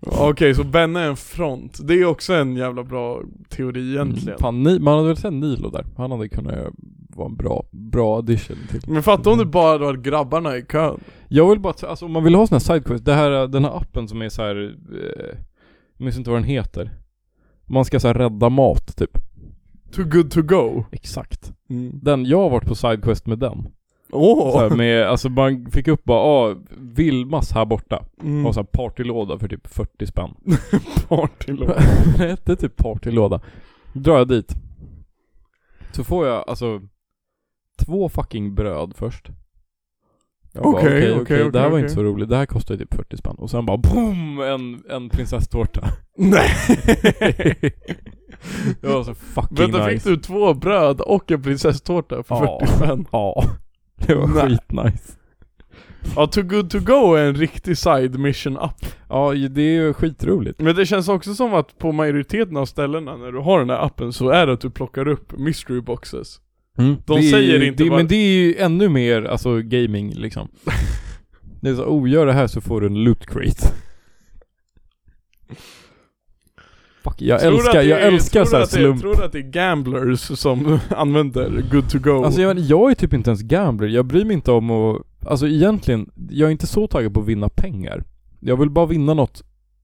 Okej, så Benne är en front. Det är också en jävla bra teori egentligen. Mm, Fan, ni, man hade väl sett Nilo där. Han hade kunnat vara en bra, bra addition typ. till. Men fatta om det bara hade varit grabbarna i kön. Jag vill bara, t- alltså om man vill ha såna här sidequests, det här, den här appen som är så här, eh, jag minns inte vad den heter. Man ska så här rädda mat typ. Too good to go. Exakt. Mm. Den, jag har varit på sidequest med den. Så Åh! här med, alltså man fick upp bara, ah, Vilmas här borta. Mm. Och så här partylåda för typ 40 spänn. Partylåda. det hette typ partylåda. Drar jag dit. Så får jag alltså två fucking bröd först. Jag bara, Okej, Okej, okej, okej, det här okej, var okej. inte så roligt. Det här kostar ju typ 40 spänn. Och sen bara boom! En, en prinsesstårta. Nej! Det var så fucking Vänta, nice. fick du två bröd och en prinsesstårta för Ja. 40 spänn? Ja. Det var Nej. skitnice. Ja, Too Good To Go är en riktig side mission up. Ja, ju- det är ju skitroligt. Men det känns också som att på majoriteten av ställena när du har den här appen så är det att du plockar upp mystery boxes. De Mm. Det är säger ju, inte det, bara- Men det är ju ännu mer, alltså gaming liksom. Det är så, oh gör det här så får du en loot crate. Fuck, jag Tror du älskar, att det jag är- älskar tror du såhär att det är- slump. Tror du att det är gamblers som använder Good To Go? Alltså jag, men- jag är typ inte ens gambler, jag bryr mig inte om att... Alltså egentligen, jag är inte så taggad på att vinna pengar. Jag vill bara vinna något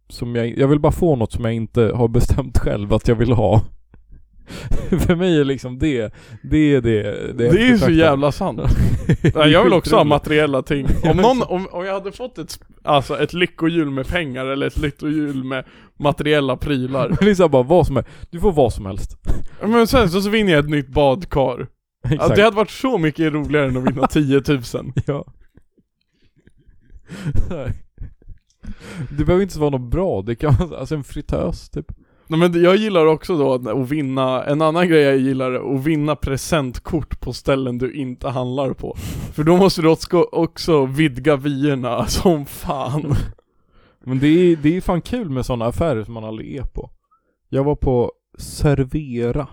som jag... Jag vill bara få något som jag inte har bestämt själv att jag vill ha. För mig är liksom det, det är det... det jag är ju så betraktar. jävla sant. Det är Nej, jag vill också ha skitroligt. materiella ting. Om, någon, om, om jag hade fått ett, sp- alltså ett lyckohjul med pengar eller ett lyckohjul med materiella prylar. liksom bara vad som helst. Du får vad som helst. Men sen så, så vinner jag ett nytt badkar. Alltså, det hade varit så mycket roligare än att vinna 10 000. Ja. Det behöver inte ens vara något bra, det kan vara alltså en fritös typ. Nej, men jag gillar också då att- att vinna, en annan grej jag gillar är att vinna presentkort på ställen du inte handlar på. För då måste du också- också vidga vyerna som fan. Men det är, det är fan kul med sådana affärer som man aldrig är på. Jag var på Servera.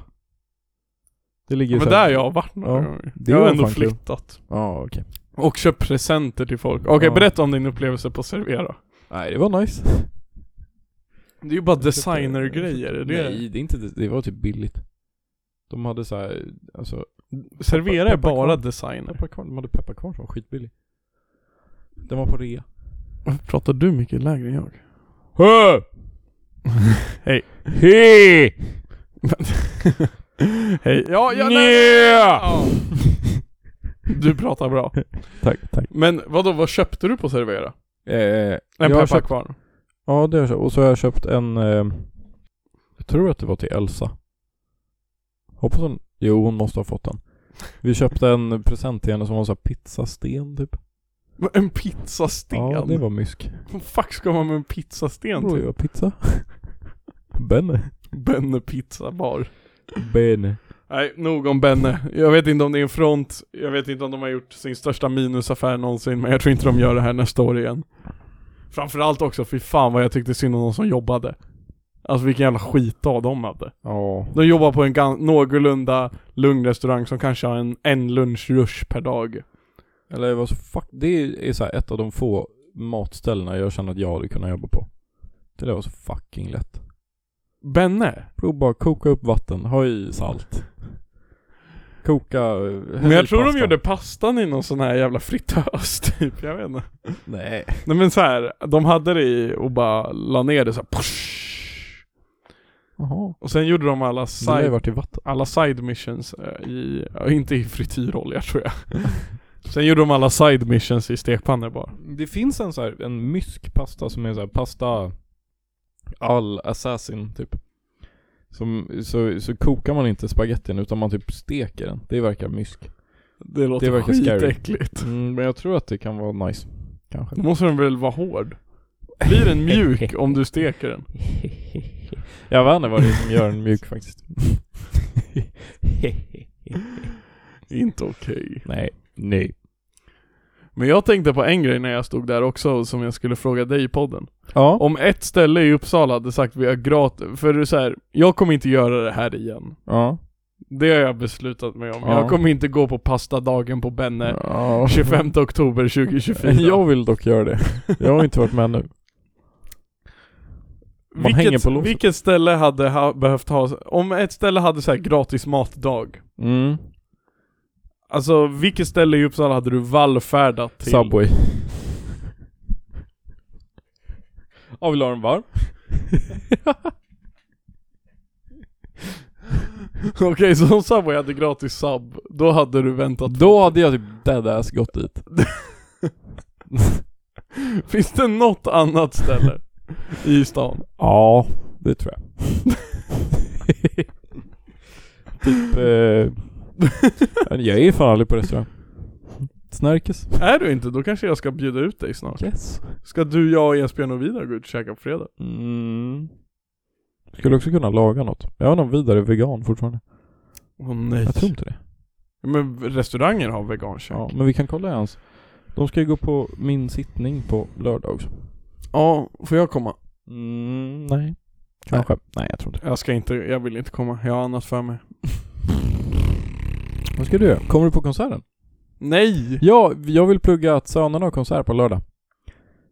Det ligger Men så här- där jag har varit några Ja, gånger. det Jag har var ändå fan kul. flyttat. Ja, okej. Och köpt presenter till folk. Okej, Ja. berätta om din upplevelse på Servera. Nej, det var nice. Det är ju bara designergrejer. Det är- Nej, det är inte det. Det var typ billigt. De hade så här, alltså Servera är Pepparkvarn. bara designer. pepparkvarn, de hade pepparkvarn som var skitbillig. Den var på rea. Varför pratar du mycket lägre än jag? Hö! Hej. He! Hej. Ja, jag Nja! Ja. Du pratar bra. Tack, tack. Men vadå, vad köpte du på Servera? Eh, en En pepparkvarn? Ja, det har jag köpt. Och så har jag köpt en... Eh, jag tror att det var till Elsa. Hoppas hon... Jo, hon måste ha fått den. Vi köpte en present till henne som var så här pizzasten typ. Men En pizzasten? Ja, det var mysk. Vad fuck ska man med en pizzasten Bror, till? jag har pizza. Benne. Benne pizzabar. Benne. Nej, nog om Benne. Jag vet inte om det är en front, jag vet inte om de har gjort sin största minusaffär någonsin, men jag tror inte de gör det här nästa år igen. Framförallt också, fy fan vad jag tyckte synd om de som jobbade. Alltså vilken jävla skitdag de hade. Ja. De jobbar på en gan- någorlunda lugn restaurang som kanske har en, en lunchrush per dag. Eller det var så fuck... Det är så här ett av de få matställena jag känner att jag hade kunnat jobba på. Det där var så fucking lätt. Benne? Prova bara koka upp vatten, ha i salt. Koka... eh, häll Men i jag tror de pastan. gjorde pastan i någon sån här jävla fritös typ, jag vet inte. Nej. Nej men så här, de hade det i och bara la ner det så här, push. Jaha. Och sen gjorde de alla Det har ju side, varit i vatten. alla side missions eh, i, ja, inte i frityrolja tror jag. sen gjorde de alla side missions i stekpannor bara. Det finns en så här, en mysk pasta som är så här pasta all assassin typ. Som, så, så kokar man inte spagettin utan man typ steker den. Det verkar mysk. Det låter Det verkar scary. skitäckligt. Mm, men jag tror att det kan vara nice. Kanske. Då måste den väl vara hård? Blir den mjuk om du steker den? jag vet inte vad det är som gör den mjuk faktiskt. Inte okej. Nej. Nej. Men jag tänkte på en grej när jag stod där också som jag skulle fråga dig i podden. Ja. Om ett ställe i Uppsala hade sagt vi har gratis, för det är så här, jag kommer inte göra det här igen. ja. Det har jag beslutat mig om. Ja. Jag kommer inte gå på pastadagen på Benne Ja. 25 oktober 2024. Jag vill dock göra det. Jag har inte varit med nu. man vilket, hänger på låset. vilket ställe hade ha, behövt ha, om ett ställe hade så här gratis matdag. Mm. Alltså vilket ställe i Uppsala hade du vallfärdat till? Subway. Ja, vill du ha den varm? Okej, så om Subway hade gratis sub, då hade du väntat. Då hade jag typ deadass gått dit. Finns det något annat ställe i stan? Ja, det tror jag. typ... Eh, jag är fan aldrig på restaurang. Snärkes. Är du inte, då kanske jag ska bjuda ut dig snart. Yes. Ska du, jag, och Esbjörn och Vidar gå ut och käka på fredag? Mm. Skulle också kunna laga något. Jag vet inte om Vidar är vegan fortfarande. Åh nej. Jag tror inte det. Men restauranger har vegankök. Ja, Ja. men vi kan kolla i hans. De ska ju gå på min sittning på lördag också. ja, får jag komma? Mm, nej. Kanske. Nej. jag tror inte Jag ska inte, jag vill inte komma. Jag har annat för mig. Vad ska du göra? Kommer du på konserten? Nej! Ja, jag vill plugga att Sönerna har konsert på lördag.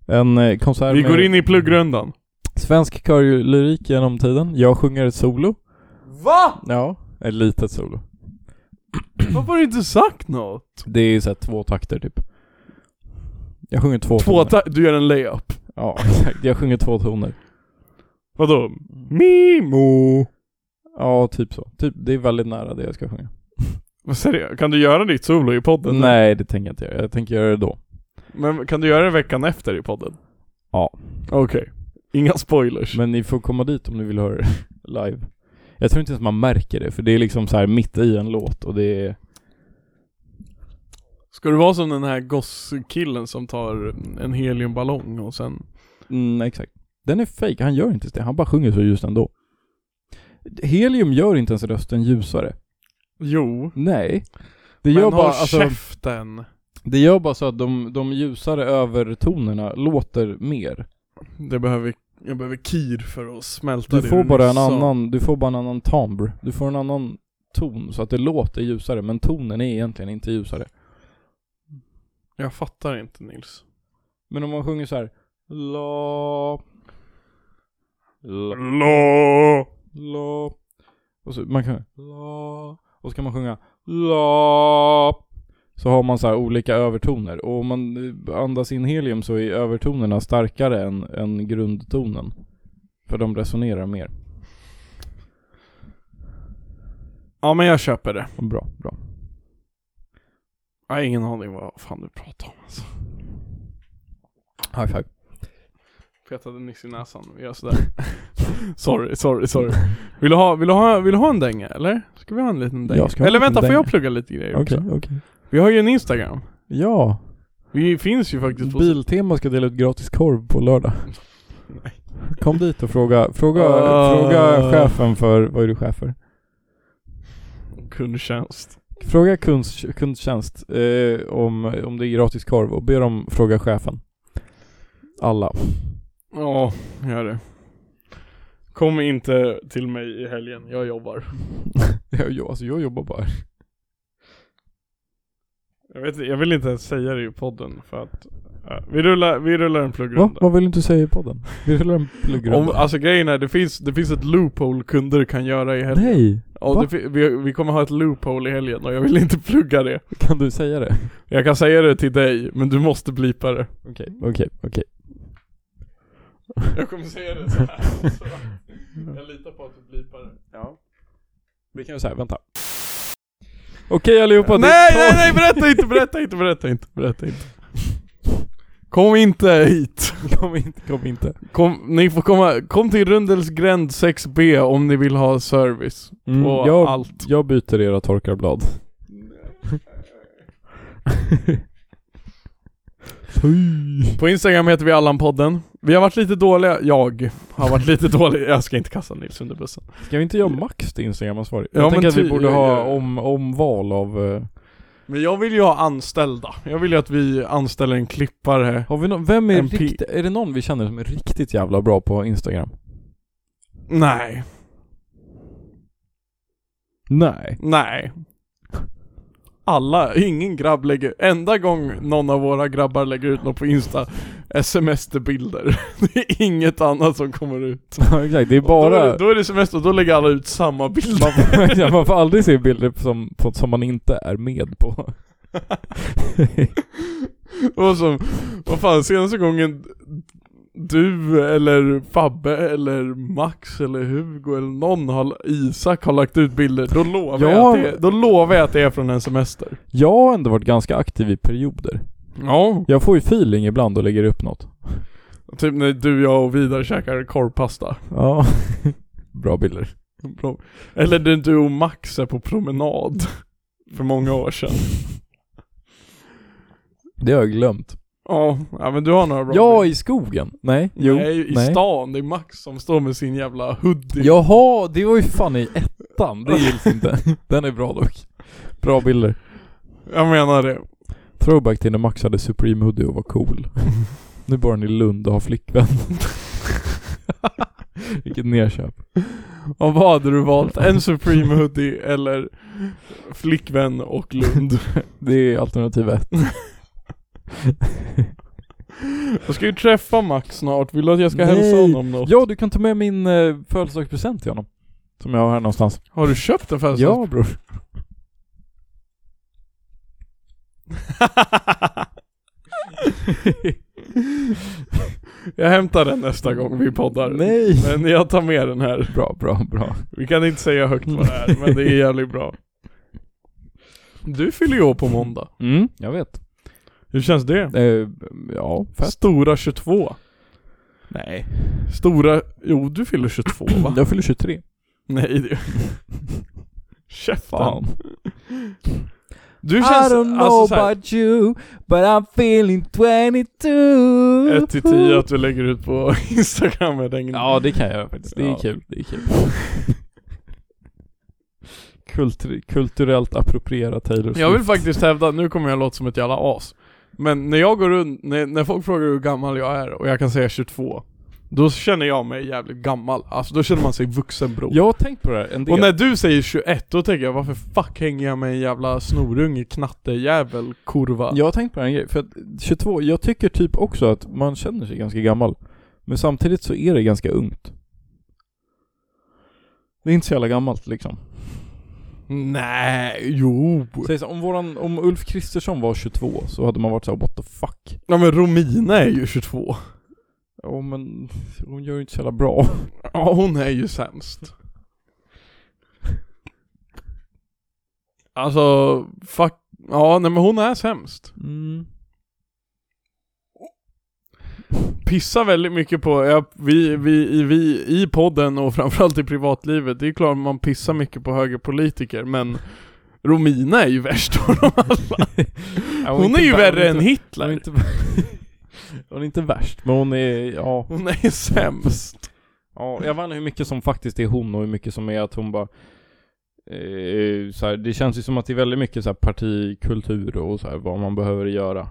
En eh, konsert Vi med går in i pluggrundan. svensk körlyrik genom tiden. Jag sjunger ett solo. Va? Ja, ett litet solo. Varför har du inte sagt något? Det är ju såhär två takter typ. Jag sjunger två, Två toner. ta- du gör en layup. Ja, exakt. Jag sjunger två toner. Vadå? Mimo! Ja, typ så. Typ, det är väldigt nära det jag ska sjunga. Vad säger jag? Kan du göra ditt solo i podden? Nej, det tänker jag inte göra. Jag tänker göra det då. Men kan du göra det veckan efter i podden? Ja. Okej. Inga spoilers. Men ni får komma dit om ni vill höra det live. Jag tror inte ens man märker det, för det är liksom så här mitt i en låt och det är... Ska du vara som den här gosskillen som tar en heliumballong och sen... Mm, exakt. Den är fake. han gör inte ens det. Han bara sjunger så ljust ändå. Helium gör inte ens rösten ljusare. Jo. Nej. Det Men gör, håll bara, alltså, käften. det gör bara så att de, de ljusare övertonerna låter mer. Det behöver, jag behöver kir för att smälta Du det får du bara nyss en sa. annan, du får bara en annan timbre. Du får en annan ton så att det låter ljusare, men tonen är egentligen inte ljusare. Jag fattar inte Nils. Men om man sjunger så här La La, La. la Och så man kan La Och så kan man sjunga La Så har man så här olika övertoner och om man eh, andas in helium så är övertonerna starkare än, än grundtonen För de resonerar mer Ja men jag köper det. Bra, bra Jag har ingen aning vad fan du pratar om alltså. High five Petade Nils i näsan, vi gör sådär. sorry, sorry, sorry. Vill du, ha, vill, du ha, vill du ha en dänga eller? Ska vi ha en liten dänga? Ja, ska vi ha eller en liten vänta, får jag dänga? plugga lite grejer Okej, också? okej Vi har ju en Instagram. Ja, Vi finns ju faktiskt på... Biltema ska dela ut gratis korv på lördag Nej. Kom dit och fråga, fråga, Ah. fråga chefen för, vad är du chef för? Kundtjänst. Fråga kunst, kundtjänst eh, om, om det är gratis korv och be dem fråga chefen. Alla. Ja, gör det. Kom inte till mig i helgen, jag jobbar. jag, jag, alltså jag jobbar bara. Jag, vet, jag vill inte ens säga det i podden för att... ja, vi, rullar, vi rullar en Va? pluggrunda. Vad vill du inte säga i podden? Vi rullar en Om, pluggrunda. alltså grejen är, det finns, det finns ett loophole kunder kan göra i helgen. Nej! Ja, Va? det, fi- vi, vi kommer ha ett loophole i helgen och jag vill inte plugga det. Kan du säga det? Jag kan säga det till dig, men du måste blipa det. Okej, okej, okej. Jag kommer säga det så här. Så. Jag litar på att du blipar det. Ja. Vi kan ju säga, vänta. Okej allihopa, det Nej, är- nej, nej, berätta inte, berätta inte, berätta inte, berätta inte. Kom inte hit. Kom inte, kom inte. Kom, ni får komma, kom till Rundels gränd 6B om ni vill ha service. Mm, På jag, allt. jag byter era torkarblad. Fy. På Instagram heter vi Allan-podden. Vi har varit lite dåliga, jag har varit lite dålig, jag ska inte kasta Nils under bussen. Ska vi inte göra Max till Instagram-ansvarig? Ja, men Jag tänker att ty- vi borde ja, ha ja. om, omval av... eh, Men jag vill ju ha anställda. Jag vill ju att vi anställer en klippare. Har vi någon, vem är En pi- riktigt, är det någon vi känner som är riktigt jävla bra på Instagram? Nej, Nej. nej. Alla, ingen grabb lägger, enda gång någon av våra grabbar lägger ut något på Insta, semesterbilder. Det är inget annat som kommer ut. Ja exakt, det är Då, bara... då är det semester, och då lägger alla ut samma bild. Man får, man får aldrig se bilder som, på, som man inte är med på. Och som, vad fan, senaste gången du eller Fabbe eller Max eller Hugo eller någon har, Isak har lagt ut bilder, då lovar, jag, Ja. att det, då lovar jag att det är från en semester. Jag har ändå varit ganska aktiv i perioder. Ja. Jag får ju feeling ibland och lägger upp något. Typ när du, jag och Vidar käkar korvpasta. Ja. Bra bilder. Bra. Eller när du och Max är på promenad. För många år sedan. Det har jag glömt. Ja, ja men du har några bra Ja, i, i skogen? Nej. jo, nej, i nej. stan. Det är Max som står med sin jävla hoodie. Jaha, det var ju fan i ettan. Det gills inte. Den är bra dock. Bra bilder. Jag menar det. Throwback till när Max hade Supreme Hoodie och var cool. nu bor han i Lund och har flickvän. Vilket nerköp. Och vad hade du valt? En Supreme hoodie eller flickvän och Lund? Det är alternativ ett. Jag ska ju träffa Max snart. Vill du att jag ska hälsa Nej. honom något? Ja, du kan ta med min eh, födelsedagspresent till honom. Som jag har här någonstans. Har du köpt en födelsedags... Ja bror. jag hämtar den nästa gång vi poddar. Nej. Men jag tar med den här. Bra, bra, bra. Vi kan inte säga högt vad det är, men det är jävligt bra. Du fyller ju år på måndag. Mm, jag vet. Hur känns det? Eh, ja, fett. Stora 22. Nej. Stora... Jo, du fyller 22 va? Jag fyller 23. Nej det... Käften. Fan. Du känns... I don't know alltså, så här, about you, but I'm feeling 22. 1 till 10 att du lägger ut på Instagram är den Ja, det kan jag göra faktiskt. Det är Ja. kul. Det är kul. Kultur- kulturellt appropriera Taylor Swift. Jag vill faktiskt hävda, nu kommer jag låta som ett jävla as Men när jag går runt, när, när folk frågar hur gammal jag är och jag kan säga 22 Då känner jag mig jävligt gammal, alltså då känner man sig vuxen bror Jag har tänkt på det här en del. Och när du säger 21, då tänker jag varför fuck hänger jag med en jävla snorunge knattejävel kurva? Jag har tänkt på en grej, för att 22, jag tycker typ också att man känner sig ganska gammal. Men samtidigt så är det ganska ungt. Det är inte så jävla gammalt liksom. Nej, jo! Säg så, om, våran, om Ulf Kristersson var 22 så hade man varit så här, what the fuck? Ja men Romina är ju 22 Ja men hon gör ju inte så jävla bra. Ja hon är ju sämst Alltså, fuck, ja nej men hon är sämst Mm. pissar väldigt mycket på, ja, vi, vi, i- vi i podden och framförallt i privatlivet, det är klart man pissar mycket på högerpolitiker men Romina är ju värst av dem alla. Hon är ju värre än Hon är, Hitler. inte, hon är inte värst, men hon är, ja. Hon är sämst. ja. Jag vet inte hur mycket som faktiskt är hon och hur mycket som är att hon bara eh, så här, det känns ju som att det är väldigt mycket så här, partikultur och så här, vad man behöver göra.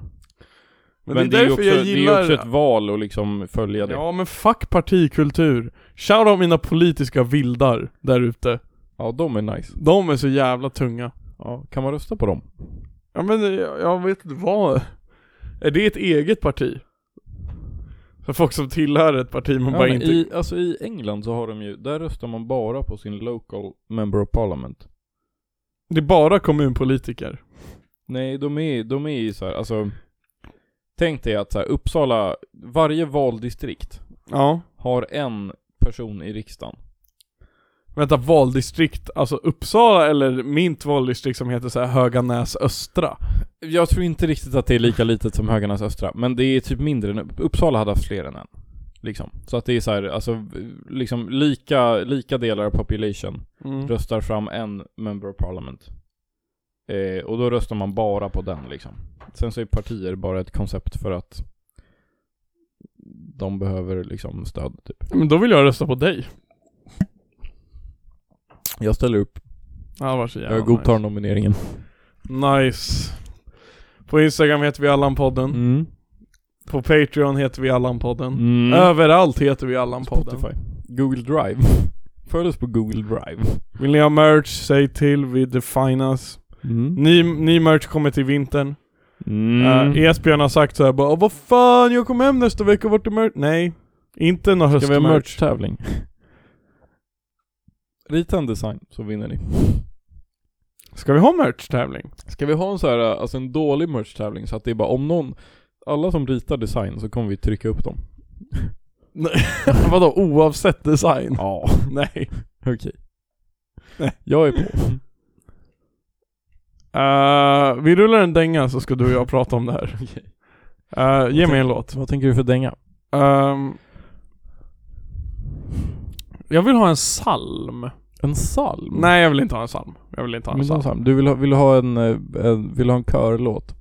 Men, Men, det är ju därför också, jag det är gillar... också ett val att liksom följa det. Ja. ja men fuck partikultur. Shout out mina politiska vildar där ute. de är nice. De är så jävla tunga. Ja, kan man rösta på dem? Ja men eh, jag, jag vet inte vad. Är det ett eget parti? För folk som tillhör ett parti man Ja, bara men inte... i, alltså i England så har de ju, där röstar man bara på sin local member of parliament. Det är bara kommunpolitiker. Nej, de är, de är ju så här, alltså Tänk dig att så här, Uppsala, varje valdistrikt Ja. har en person i riksdagen. Vänta, valdistrikt, alltså Uppsala eller mitt valdistrikt som heter så här Höganäs östra? Jag tror inte riktigt att det är lika litet som Höganäs östra, men det är typ mindre än, Uppsala hade haft fler än en. Liksom. Så att det är så här, alltså liksom lika, lika delar av population Mm. röstar fram en member of parliament. Eh, och då röstar man bara på den liksom. Sen så är partier bara ett koncept för att de behöver liksom stöd typ. Men då vill jag rösta på dig. Jag ställer upp. Ja, varsågod. jag godtar nomineringen. Nice. nice. På Instagram heter vi Allan-podden. Mm. På Patreon heter vi Allan-podden. Mm. Överallt heter vi Allan-podden. Spotify. Google Drive. Följ oss på Google Drive. Vill ni ha merch, säg till, vi definas. Mm. Ny, ny merch kommer till vintern. Mm. Eh, Esbjörn har sagt såhär bara "Åh, vad fan, jag kommer hem nästa vecka, vart är merch? Nej, inte någon Ska vi ha höstmerch. merch-tävling? Rita en design så vinner ni. Ska vi ha merch-tävling? Ska vi ha en så här, alltså en dålig merch-tävling så att det är bara om någon, alla som ritar design så kommer vi trycka upp dem. Vadå, oavsett design? Ja. Nej. Okej. Nej. Jag är på. Eh, vi rullar en dänga så ska du och jag prata om det här. Eh, ge mig en låt. Vad tänker du för dänga? Ehm, jag vill ha en psalm. En psalm? Nej, jag vill inte ha en psalm. Jag vill inte ha en Men psalm. psalm. Du vill ha, vill ha en, eh, en, vill ha en körlåt?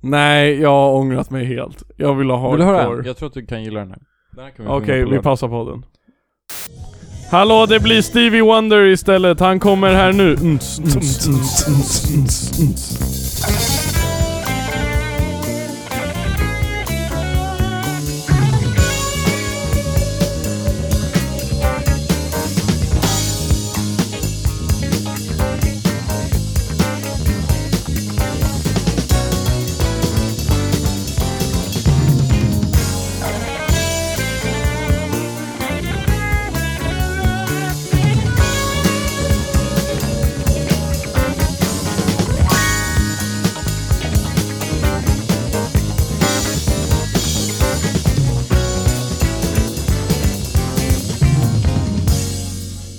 Nej, jag har ångrat mig helt. Jag vill ha hardcore. Vill du höra en? Jag tror att du kan gillar den här. Den här kan vi sjunga Okej, på vi lördag. pausar podden. Hallå, det blir Stevie Wonder istället. Han kommer här nu. Mm, Uns, uns, uns, uns, uns, uns.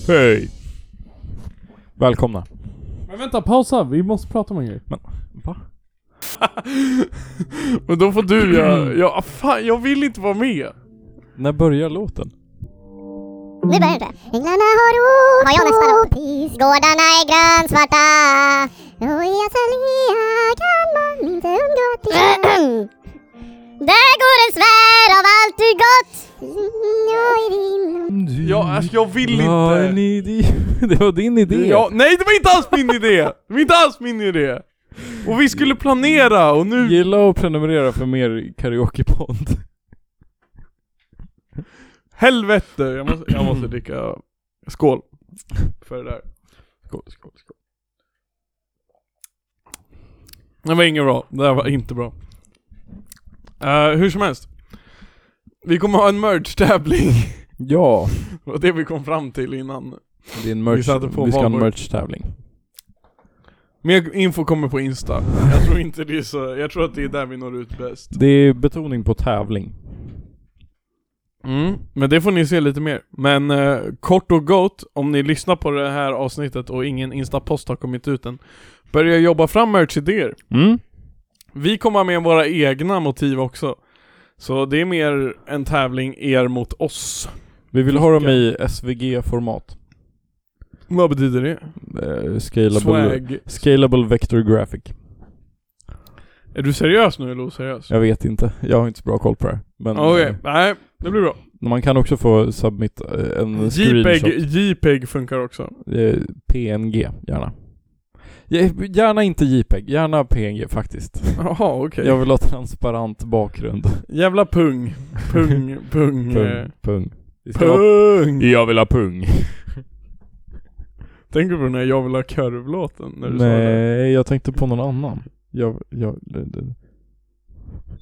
Hej! Välkomna. Men vänta, pausa. Vi måste prata om en grej. Men, va? Men då får du göra... Ja, fan, jag vill inte vara med. När börjar låten? Nu börjar det. Änglarna har rott Har jag nästa låt? Gårdarna är grönsvarta Och i azalea kan man inte undgå att bli Där går en sfär av allt du gott Mm, Och i din Jag, alltså, jag vill Ja, en inte. idé. Det var din idé. Ja, nej, det var inte alls min idé! Det var inte alls min idé! Och vi skulle planera och nu... Gilla och prenumerera för mer karaokepodd. Helvete! Jag måste, jag måste dricka... Skål. För det där. Skål, skål, skål. Det var inget bra. Det där var inte bra. Eh, hur som helst. Vi kommer ha en merge-tävling. Ja, Det var det vi kom fram till innan. det är en merch. Vi satte på Vi, ska ha en valborg. merch-tävling. Mer info kommer på Insta. Jag tror inte det är så, jag tror att det är där vi når ut bäst. Det är betoning på tävling. Mm, men det får ni se lite mer. Men eh, kort och gott, om ni lyssnar på det här avsnittet och ingen Insta-post har kommit ut än. Börja jobba fram merch-idéer. Mm. Vi kommer ha med våra egna motiv också. Så det är mer en tävling er mot oss. Vi vill ha dem i SVG-format. Vad betyder det? Eh, scalable, Swag. scalable vector graphic. Är du seriös nu eller oseriös? Jag vet inte. Jag har inte så bra koll på det här. Men Okej, eh, nej, det blir bra. man kan också få submit eh, en JPEG, screenshot. JPEG funkar också. Eh, PNG, gärna. Ja, Gärna inte JPEG, gärna PNG faktiskt. Jaha, okej. Jag vill ha transparent bakgrund. Jävla pung. Pung, pung. eh, Pung, pung. Det ska vara- Pung! Jag vill ha pung. Tänker du på den här Jag vill ha korv-låten? När du sa det? Nej, jag tänkte på någon annan. Jag, jag, det- det-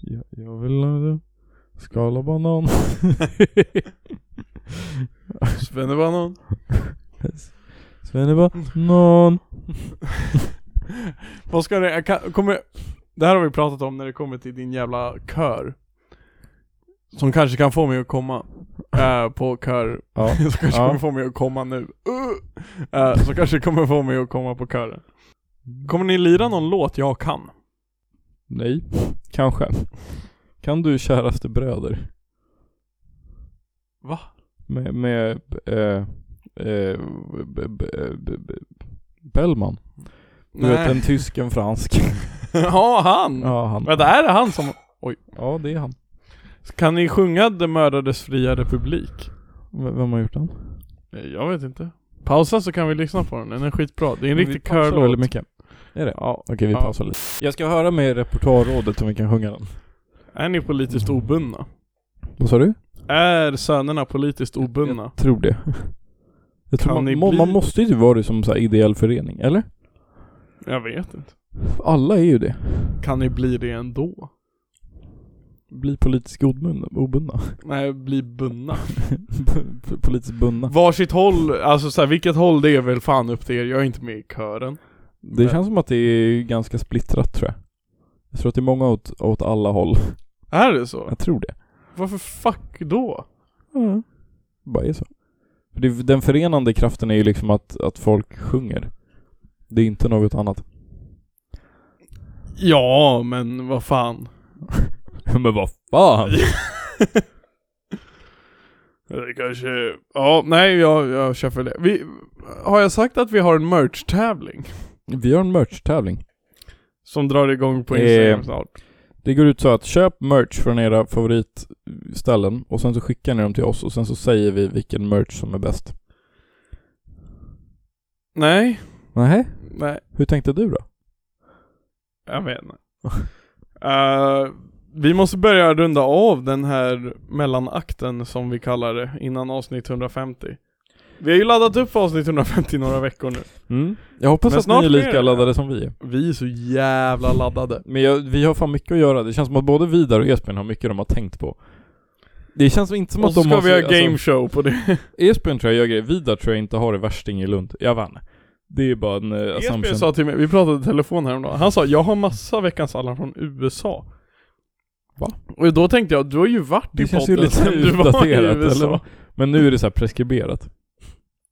jag, jag vill ha det. skala banan. Svennebanan? Svennebanan. Vad ska det, jag kan, kommer, det här har vi pratat om när det kommer till din jävla kör. Som kanske kan få mig att komma. eh, på kör. Ja. Som kanske Ja. kommer få mig att komma nu. Uh, eh, som kanske kommer få mig att komma på kören. Kommer ni lira någon låt jag kan? Nej, kanske. Kan du käraste bröder? Va? Med, med eh, eh, b, b, b, b, Bellman. Du vet en tysk, en fransk. ja, han! Ja, han. Mm. Vänta, är det han som... Ja, det är han. Kan ni sjunga Det mördades fria republik? V- vem har gjort den? Nej, Eh, Jag vet inte. Pausa så kan vi lyssna på den, den är skitbra. Det är en Vi riktig pausar körlåt. väldigt mycket. Är det? Ja. Okej, vi Ja. pausar lite. Jag ska höra med repertoarrådet om vi kan sjunga den. Är ni politiskt obundna? Vad sa du? Är sönerna politiskt obundna? Tror det. Jag tror Kan man, ni må- bli- man måste ju vara det som så här ideell förening, eller? Jag vet inte. Alla är ju det. Kan ni bli det ändå? Bli politiskt obundna. obundna. Nej, bli bundna. politiskt bundna. Varsitt håll, alltså så här, vilket håll det är väl fan upp till er. Jag är inte med i kören. Det känns som att det är ganska splittrat tror jag. Jag tror att det är många åt, åt alla håll. Är det så? Jag tror det. Varför fuck då? Mm. Bara är så. För det, den förenande kraften är ju liksom att, att folk sjunger. Det är inte något annat. Ja, men vad fan. Men vad fan! Det kanske... Ja, nej jag, jag kör för det. Vi... Har jag sagt att vi har en merch-tävling? Vi har en merch-tävling. Som drar igång på Eh, Instagram snart. Det går ut så att köp merch från era favoritställen och sen så skickar ni dem till oss och sen så säger vi vilken merch som är bäst. Nej. Nej. Nej, Hur tänkte du då? jag vet inte. Eh, vi måste börja runda av den här mellanakten som vi kallar det, innan avsnitt 150. Vi har ju laddat upp för avsnitt 150 i några veckor nu. Jag Mm. Men hoppas att ni snart är blir lika det. laddade som vi är. Vi är så jävla laddade. Men jag, vi har fan mycket att göra. Det känns som att både Vidar och Esbjörn har mycket de har tänkt på. Det känns inte som Och att så de ska har... vi ha alltså, game show på det. Esbjörn tror jag gör grejer. Vidar tror jag inte har det värsting i Lund. Jag vann. Det är bara en uh, Esbjörn assumption. E sa till mig, vi pratade i telefon häromdagen, han sa jag har massa veckans alla från USA. Va? Och då tänkte jag, du har ju varit det i känns ju podden lite sen du var i utdaterat USA. eller vad? Men nu är det så här preskriberat.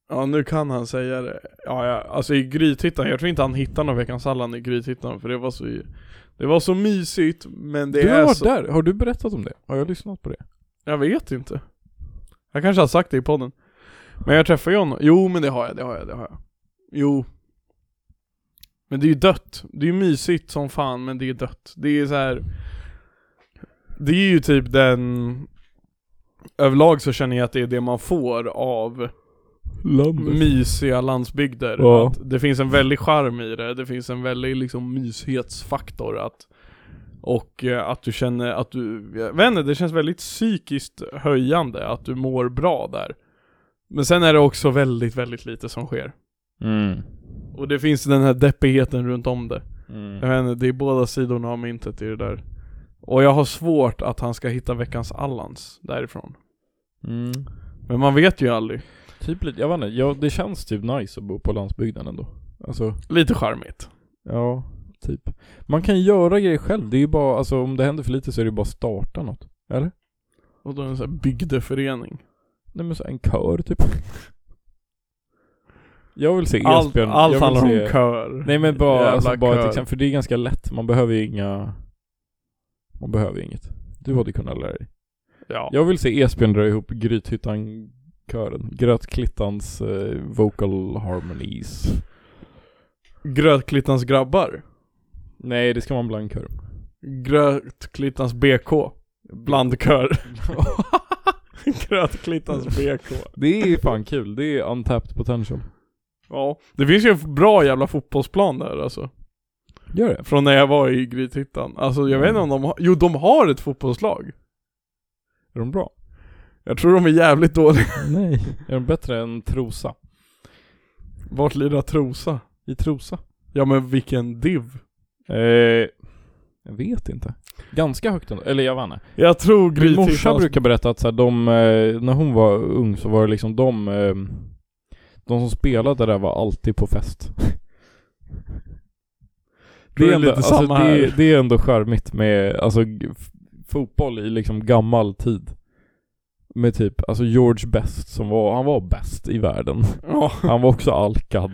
Ja nu kan han säga det. Ja, ja alltså i Grythyttan, jag tror inte han hittar någon Veckans Allan i Grythyttan för det var så Det var så mysigt men det du har är varit så, där. Har du berättat om det? Har jag lyssnat på det? jag vet inte. Jag kanske har sagt det i podden. Men jag träffade ju honom, jo men det har jag, det har jag, det har jag. Jo. Men det är ju dött. Det är ju mysigt som fan men det är dött. Det är så här. Det är ju typ den Överlag så känner jag att det är det man får av Landet. mysiga landsbygder. Mm. Ja. Att det finns en väldig charm i det, det finns en väldig liksom myshetsfaktor att och eh, att du känner att du, jag vet inte, det känns väldigt psykiskt höjande att du mår bra där. Men sen är det också väldigt, väldigt lite som sker. Mm. Och det finns den här deppigheten runt om det. Jag Mm. vet inte, det är båda sidorna av myntet i det där. Och jag har svårt att han ska hitta veckans Allans därifrån. Mm. Men man vet ju aldrig. Typ lite, jag vet inte. Ja, det känns typ nice att bo på landsbygden ändå. Alltså. Lite charmigt. Ja, typ. Man kan göra grejer själv. Det är ju bara, alltså om det händer för lite så är det ju bara att starta något. Eller? Och då är det en sån här bygdeförening. Nej men så en kör typ. Jag vill se Allt, Esbjörn. allt jag vill handlar om se- kör. Nej men bara, Jävla alltså, bara ett kör. exempel. För det är ganska lätt. Man behöver ju inga... Man behöver ju inget. Du hade kunnat lära dig. Ja. Jag vill se Esbjörn dra ihop Grythyttan-kören. Grötklittans eh, vocal harmonies. Grötklittans grabbar. Nej, det ska vara en blank kör. Grötklittans BK. Blandkör. Grötklittans BK. Det är fan kul. Det är untapped potential. Ja. Det finns ju en bra jävla fotbollsplan där alltså. Gör det. Från när jag var i Grythyttan. Alltså jag vet inte om de har, jo de har ett fotbollslag. Är de bra? Jag tror de är jävligt dåliga. Nej. Är de bättre än Trosa? Vart lirar Trosa? I Trosa? Ja men vilken div. Eh, jag vet inte. Ganska högt ändå. Eller jag vann. det. Jag tror Min morsa Grythyttans... brukar berätta att så här, de, eh, när hon var ung så var det liksom de, eh, de som spelade där var alltid på fest. Tror det Det är, är ändå, lite alltså, samma det, här. det är ändå charmigt med alltså, g- f- fotboll i liksom gammal tid. Med typ, alltså George Best som var, han var bäst i världen. Ja, Han var också alkad.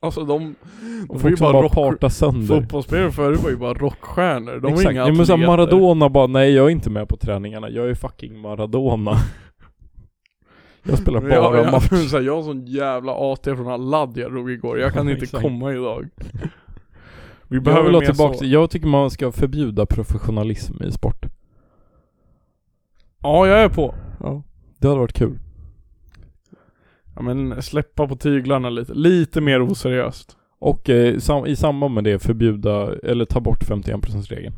alltså de... De Och får ju folk som bara bara rock... parta sönder. Fotbollsspelare förut var ju bara rockstjärnor. De var Exakt. inga ja, men så här, atleter. Maradona bara, nej jag är inte med på träningarna, jag är fucking Maradona. Jag spelar bara jag, jag, match. Så här, jag har sån jävla AT från all ladd jag drog igår, jag kan Ja, inte exakt. komma idag. Vi Jag, vill ha mer tillbaka, så. jag tycker man ska förbjuda professionalism i sport. Ja, jag är på. Ja. Det hade varit kul. Ja men släppa på tyglarna lite, lite mer oseriöst. Och eh, sam- i samband med det förbjuda, eller ta bort 51%-regeln.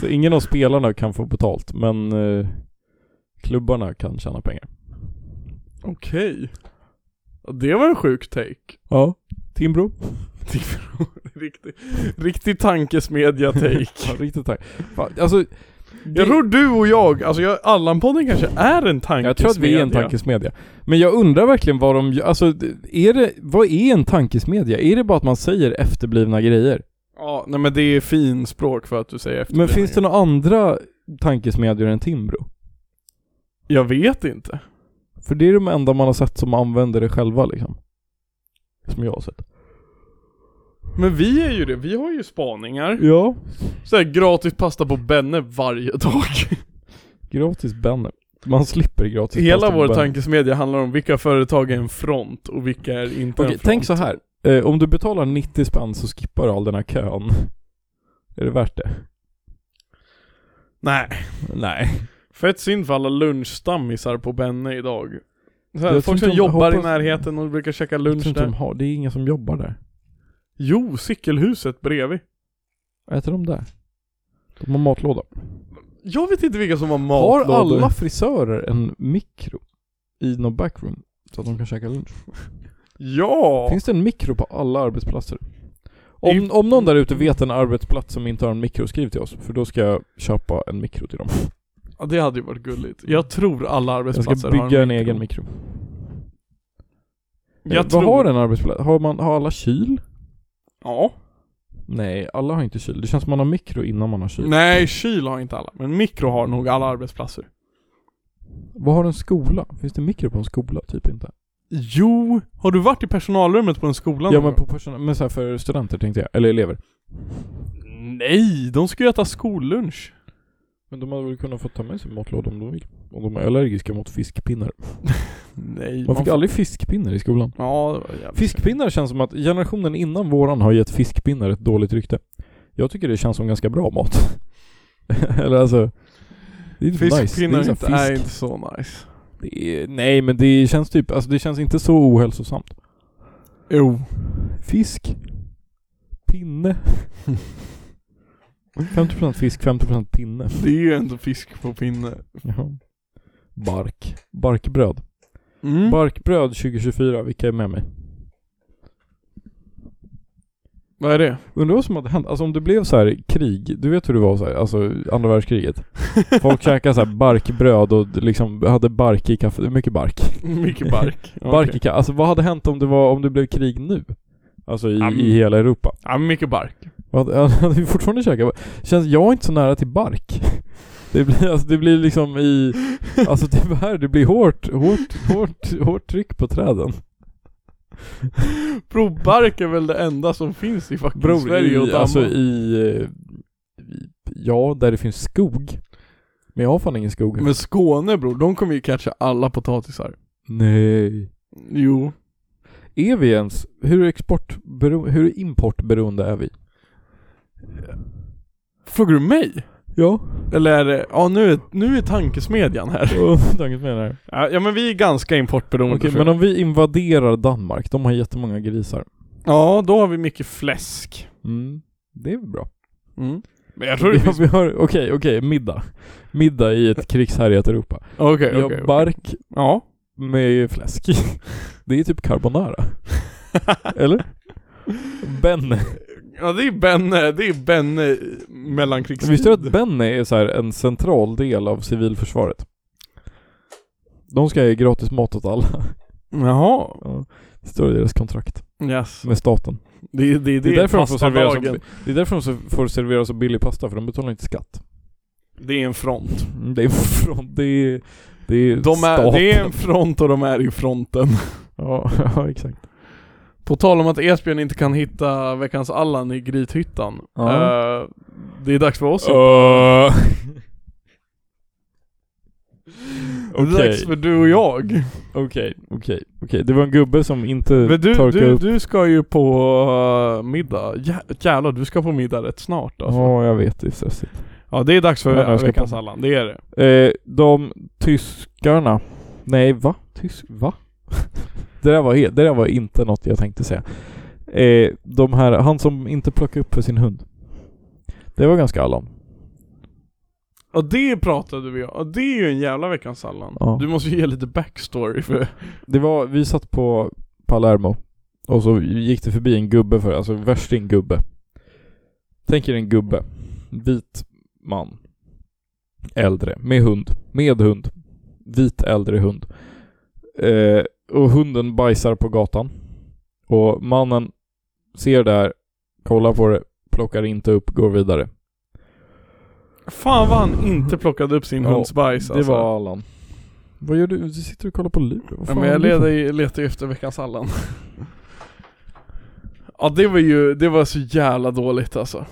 så ingen av spelarna kan få betalt, men eh, klubbarna kan tjäna pengar. Okej. Ja, Det var en sjuk take. Ja. Timbro? Riktig, riktig tankesmedja-take. Ja, riktigt tack. Fan, Alltså, Jag tror du och jag, alltså jag, Allan-podden kanske är en tankesmedja. Jag tror att vi är en tankesmedja. Men jag undrar verkligen vad de gör. Alltså, är det, vad är en tankesmedja? Är det bara att man säger efterblivna grejer? Ja, nej men det är fin språk för att du säger efter. Men finns det några andra tankesmedjor än Timbro? Jag vet inte. För det är de enda man har sett som använder det själva liksom. Som jag har sett. Men vi är ju det, vi har ju spaningar. Ja. Såhär gratis pasta på Benne varje dag. Gratis Benner. Man slipper gratis Hela pasta på vår Benner. tankesmedja handlar om vilka företag är en front och vilka är inte Okej, en front. tänk så här. eh, om du betalar 90 spänn så skippar du all den här kön. Är det värt det? Nej. Nej. Fett synd för alla lunchstammisar på Benne idag. Så här, Jag tror folk inte som de- jobbar i hoppas- närheten och brukar käka Jag tror lunch inte de där. har, det är ingen som jobbar där. Jo, cykelhuset bredvid. Äter de där? De har matlåda. Jag vet inte vilka som har Har matlådor. alla frisörer en mikro i någon backroom? Så att de kan käka lunch. Ja! Finns det en mikro på alla arbetsplatser? I- Om, om någon där ute vet en arbetsplats som inte har en mikro, skriv till oss. För då ska jag köpa en mikro till dem. ja, det hade ju varit gulligt. Jag tror alla Jag arbetsplatser ska bygga en, egen mikro. Jag Vad tror... har en arbetsplats? Har, man, har alla kyl? Ja. Nej, alla har inte kyl. Det känns som man har mikro innan man har kyl. Nej, kyl har inte alla. Men mikro har nog alla arbetsplatser. Vad har en skola? Finns det mikro på en skola? Typ inte. Jo, har du varit i personalrummet på en skola Ja någon men, gång? på personal, men så här för studenter tänkte jag, eller elever. Nej, de ska ju äta skollunch. Men de hade väl kunnat få ta med sig matlåda om de vill? Om de är allergiska mot fiskpinnar. Nej, Man fick får- aldrig fiskpinnar i skolan. Ja, det var jävligt. Fiskpinnar känns som att generationen innan våran har gett fiskpinnar ett dåligt rykte. Jag tycker det känns som ganska bra mat. eller alltså... Det är inte nice. Det Fiskpinnar inte, är, inte är fisk. inte så nice. Det är, nej men det känns typ, alltså det känns inte så ohälsosamt. Jo. Fisk. Pinne. 50% fisk, 50% pinne. Det är ju ändå fisk på pinne. Jaha. Bark. Barkbröd. Mm. Barkbröd 2024, vilka är med mig? Vad är det? Undrar vad som hade hänt, alltså om det blev så här krig, du vet hur det var så här, alltså andra världskriget. Folk käkade så här barkbröd och liksom hade bark i kaffet, mycket bark. Mycket bark. Okej. Bark i kaffet, alltså vad hade hänt om det var, om det blev krig nu? Alltså i, Ja, men- i hela Europa. Ja, mycket bark. Vad- alltså, Hade vi fortfarande käkat bark? Känns, jag är inte så nära till bark. Det blir, alltså det blir liksom i, alltså typ här, det blir hårt, hårt, hårt, hårt tryck på träden. Bro, bark är väl det enda som finns i fucking Bror, Sverige och i, Danmark. alltså i, eh, i... Ja, där det finns skog. Men jag har fan ingen skog. Men Skåne bror, de kommer ju catcha alla potatisar. Nej. Jo. Är vi ens... Hur exportbero, Hur importberoende är vi? Frågar du mig? Ja. Eller är det, ja nu är, nu är tankesmedjan här. Tanken med det här. Ja ja, men vi är ganska importberoende Okej, tror men jag. om vi invaderar Danmark, de har jättemånga grisar. Ja, då har vi mycket fläsk. Mm. Det är väl bra. Mm. Men jag tror det Ja, finns... vi har, okej, okej, middag. Middag i ett krigshärjat Europa. Okej, Vi okej. har okej. bark Ja. med fläsk. Det är typ carbonara. Eller? Benne. Ja det är Benne, det är Benne i mellankrigstid. Visste du att Benny är så här en central del av civilförsvaret? De ska ge gratis mat åt alla. Jaha. Det står i deras kontrakt Yes. med staten. Det, det, det, Det är, därför de får servera så, pastadagen. det är därför de så- får servera så billig pasta, för de betalar inte skatt. Det är en front. Det är från... Det är... Det är De är, staten. det är en front och de är i fronten. Ja, ja, exakt. På tal om att Esbjörn inte kan hitta veckans Allan i Grythyttan. Ja. Eh, det är dags för oss. Öh. Det är Okej, dags för du och jag. okej, okej, okej. Det var en gubbe som inte Men du, torkade du, upp. du ska ju på eh, middag. Jä- Jävlar, du ska på middag rätt snart Ja, alltså. jag vet. Det är stressigt. Ja, det är dags för Ja, jag ska veckans på- Allan. Det är det. Eh, de tyskarna. Nej, va? Tysk... Va? det, där var, he- det där var inte något jag tänkte säga. Eh, de här, han som inte plockade upp för sin hund. Det var ganska Allan. Ja det pratade vi om. Ja, det är ju en jävla veckans Allan. Ja. Du måste ju ge lite backstory för... Det var, vi satt på Palermo och så gick det förbi en gubbe för, alltså värsting gubbe. Tänk er en gubbe. Vit man. Äldre. Med hund. Med hund. Vit äldre hund. Eh, och hunden bajsar på gatan. Och mannen ser det här, kollar på det, plockar inte upp, går vidare. Fan vad han inte plockade upp sin Ja, hunds bajs Det alltså. var Allan. Vad gör du? Du sitter och kollar på lur. Vad ja, fan men jag är det för- letar ju- letar ju efter veckans Allan. ja det var ju, det var så jävla dåligt alltså.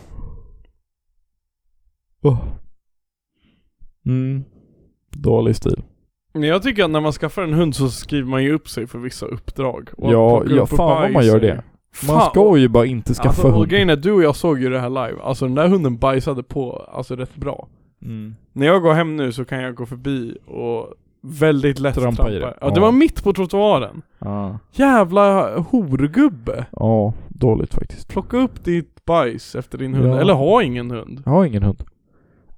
Oh. Mm. Dålig stil. Men jag tycker att när man skaffar en hund så skriver man ju upp sig för vissa uppdrag. Och att Ja, plocka ja upp fan vad bajs man gör är ju- det. Man Fan, ska ju bara inte skaffa alltså, och hund. grejen är, du och jag såg ju det här live. Alltså den där hunden bajsade på, alltså rätt bra. Mm. När jag går hem nu så kan jag gå förbi och väldigt lätt Trampa i trampa. I det. det. Ja, det Ja. var mitt på trottoaren. Ja. Jävla horgubbe. ja, dåligt faktiskt. Plocka upp ditt bajs efter din hund. Ja. Eller ha ingen hund. Jag har ingen hund.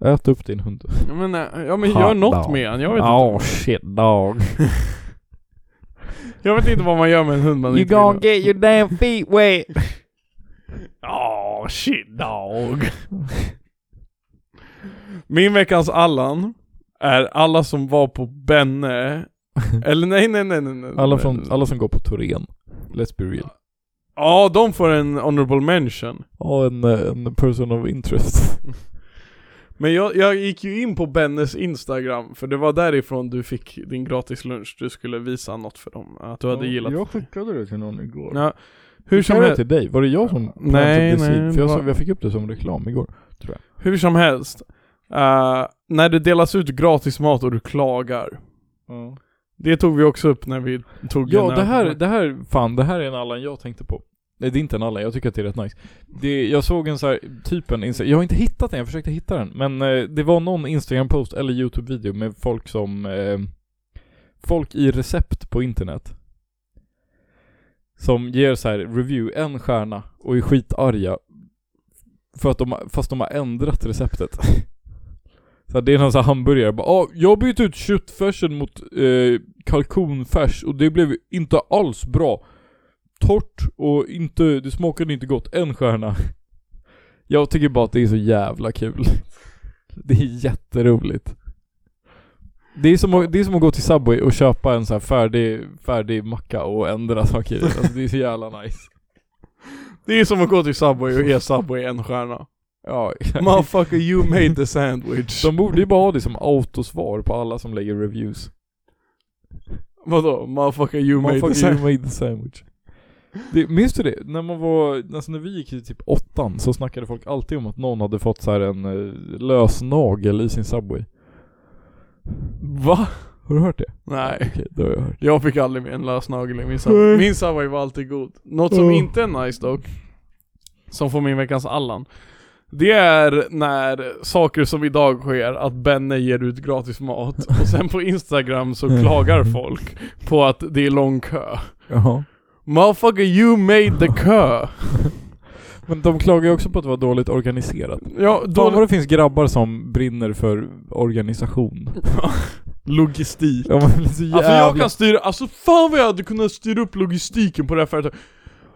Ät upp din hund. Ja men, eh, ja, men Ha, gör något dog. med han. Jag vet, oh, shit dog. jag vet inte vad man gör med en hund man inte vill ha. get your damn feet wet. Åh, shit dog. Min veckans Allan är alla som var på Benne. Eller nej, nej, nej, nej. nej. Alla, från, alla som går på Torén. Let's be real. Ja, de får en honorable mention. Ja, en, eh, en person of interest. Men jag, jag gick ju in på Bennes Instagram, för det var därifrån du fick din gratis lunch. Du skulle visa något för dem, att du hade gillat. Jag skickade det till någon igår. Ja, hur, som det helst, till dig? Var det jag typ. som Nej, planted the nej, seed? För jag, det var- såg- jag fick upp det som reklam igår. hur som helst. eh, när det delas ut gratis mat och du klagar. Det tog vi också upp när vi tog Ja, en det här, öl. det här, fan det här är en Allan jag tänkte på. Nej det är inte en Allan, jag tycker att det är rätt nice. Det, jag såg en så här, typ en Insta- jag har inte hittat den, jag försökte hitta den. Men eh, det var någon Instagram-post eller YouTube-video med folk som, eh, folk i recept på internet. Som ger så här review, en stjärna och är skitarga. För att de, har- fast de har ändrat receptet. Så här, det är någon sån här hamburgare bara ah, jag har bytt ut köttfärsen mot eh, kalkonfärs och det blev inte alls bra. Torrt och inte, det smakade inte gott. En stjärna. Jag tycker bara att det är så jävla kul. Det är jätteroligt. Det är som att, det är som att gå till Subway och köpa en så här färdig, färdig macka och ändra saker i den. Alltså det är så jävla nice. Det är som att gå till Subway och ge Subway en stjärna. Ja, Motherfucker you made the sandwich. de borde ju bara ha det som autosvar på alla som lägger reviews. Vadå? Motherfucker you made the Motherfucker, sandwich. you made the sandwich. Det, minns du det? När man var, alltså när vi gick i typ åttan så snackade folk alltid om att någon hade fått så här en eh, lös nagel i sin Subway. Va? Har du hört det? Nej. Okej, det har jag hört. Jag fick aldrig en lös nagel i min Nej. Subway. Min Subway var alltid god. Något som Ja. inte är nice dock, som får min veckans Allan. Det är när saker som idag sker, att Benne ger ut gratis mat och sen på Instagram så klagar folk på att det är lång kö. Jaha. Motherfucker you made the kö. Men de klagar ju också på att det var dåligt organiserat. Ja, Då vad då... det finns grabbar som brinner för organisation. Logistik. Ja, men det är så jävla... Alltså jag kan styra, alltså fan vad jag hade kunnat styra upp logistiken på det här företaget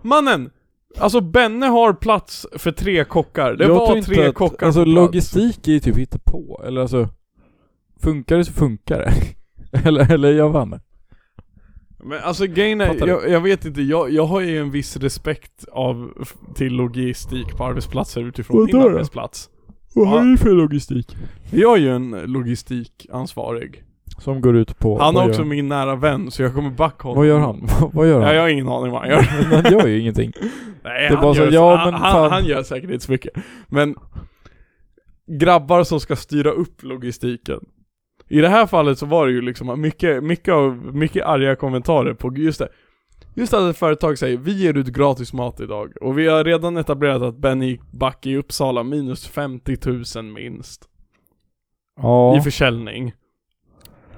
Mannen! Alltså Benne har plats för tre kockar, det Jag tror var inte tre att- kockar Alltså på plats. logistik är ju typ hitta på eller alltså... Funkar det så funkar det. eller, eller jag vann. Men alltså grejen Fattar är, du? jag, jag vet inte, jag, jag har ju en viss respekt av, f- till logistik på arbetsplatser utifrån min Vadå då? arbetsplats Vad har du för logistik? Vi har ju en logistikansvarig Som går ut på... Han vad är också gör, min nära vän så jag kommer backa honom Vad gör han? vad gör Ja, han? jag har ingen aning vad han gör Men han gör ju ingenting. Nej, Det han, var så, gör, ja, han, men fan. han, han gör säkert inte så mycket. Men grabbar som ska styra upp logistiken. I det här fallet så var det ju liksom mycket, mycket, av, mycket arga kommentarer på just det. Just att ett företag säger vi ger ut gratis mat idag och vi har redan etablerat att Benny gick back i Uppsala minus 50 000 minst i Ja. försäljning.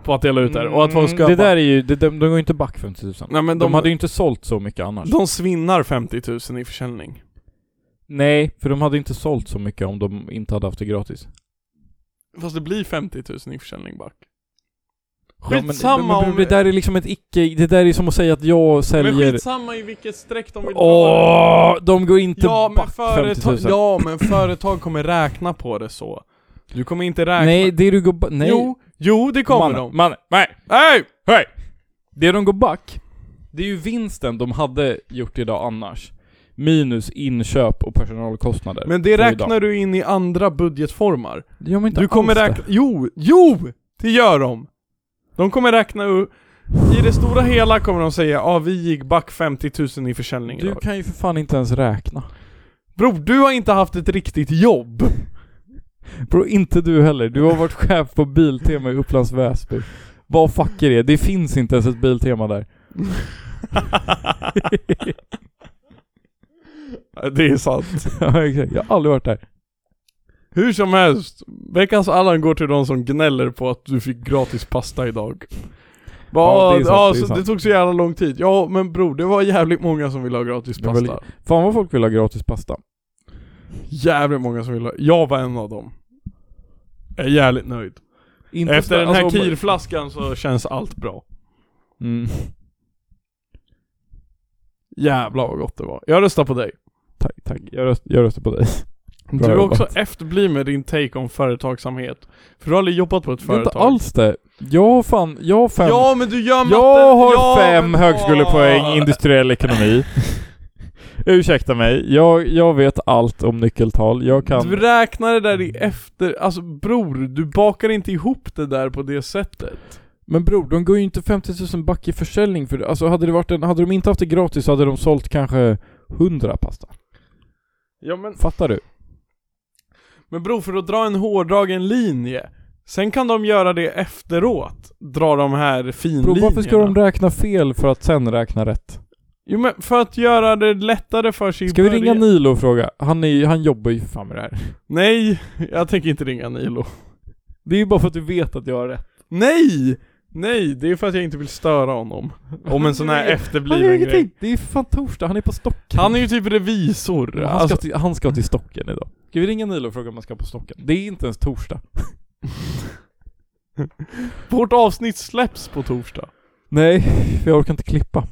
På att dela ut det här. och att folk ska Mm, Det där är ju, det, de, de går ju inte back 50 000. Nej, men de, de- hade ju inte sålt så mycket annars. De svinnar 50 000 i försäljning. Nej, för de hade inte sålt så mycket om de inte hade haft det gratis. Fast det blir 50 000 i försäljning back. men- Skitsamma men, om- Det där är liksom ett icke, det där är som att säga att jag Men säljer... skitsamma i vilket streck de vill dra Åh, de går inte ja, men back 50 företag, 000. ja men företag kommer räkna på det så. Du kommer inte räkna... Nej, det du går ba- Nej. Jo, jo det kommer mannen, de. Mannen, nej! Nej! Hej! Det de går back, det är ju vinsten de hade gjort idag annars. Minus inköp och personalkostnader. Men det för räknar idag. du in i andra budgetformar. Det gör man inte Du kommer alls räkna... Jo! Jo! Det gör de! De kommer räkna ur... I det stora hela kommer de säga ja ah, vi gick back 50 000 i det. försäljning Du idag. kan ju för fan inte ens räkna. Bror, du har inte haft ett riktigt jobb! Bro, inte du heller. Du har varit chef på Biltema i Upplands Väsby. Vad fuck är det? Det finns inte ens ett Biltema där. det är sant. ja, exakt. Jag har aldrig varit där. Hur som helst, veckans Allan går till de som gnäller på att du fick gratis pasta idag. Ja, Bara, det är ja, sant, ja, det är så sant. det tog så jävla lång tid. Ja men bror, det var jävligt många som ville ha gratis Det var pasta. Fan vad folk vill ha gratis pasta. Jävligt många som ville ha. Jag var en av dem. Jag är jävligt nöjd. Inte Efter den så- här alltså, om- kirflaskan så känns allt bra. Mm. Jävlar vad gott det var. Jag röstar på dig. Tack, tack. Jag, röst, jag röstar på dig. Bra du är jobbat. också efterbliv med din take om företagsamhet. För du har aldrig jobbat på ett Det är företag. inte alls det. Jag har fan, jag har fem... Ja men du gör matten. jag har ja, fem men- högskolepoäng Åh. i industriell ekonomi. Ursäkta mig, jag, jag vet allt om nyckeltal. Jag kan... Du räknar det där i efter... Alltså bror, du bakar inte ihop det där på det sättet. Men bror, de går ju inte 50 000 back i försäljning för alltså hade, det varit en, hade de inte haft det gratis så hade de sålt kanske 100 pasta. Ja men... Fattar du? Men bror, för att dra en hårdragen linje. Sen kan de göra det efteråt. Dra de här finlinjerna. Bror, varför ska de räkna fel för att sen räkna rätt? Jo men för att göra det lättare för sig i Ska vi början. ringa Nilo och fråga? Han, är, ju- han jobbar ju för fan med det här. Nej, jag tänker inte ringa Nilo. Det är ju bara för att du vet att jag har rätt. Nej! Nej, det är för att jag inte vill störa honom. Om en sån här Han gör efterbliven grej. ingenting! Det är ju fan torsdag, han är på Stockholm. Han är ju typ revisor. han, Alltså, ska till, han ska till Stocken idag. Ska vi ringa Nilo och fråga om han ska på Stocken? Det är inte ens torsdag. vårt avsnitt släpps på torsdag. Nej, för jag orkar inte klippa.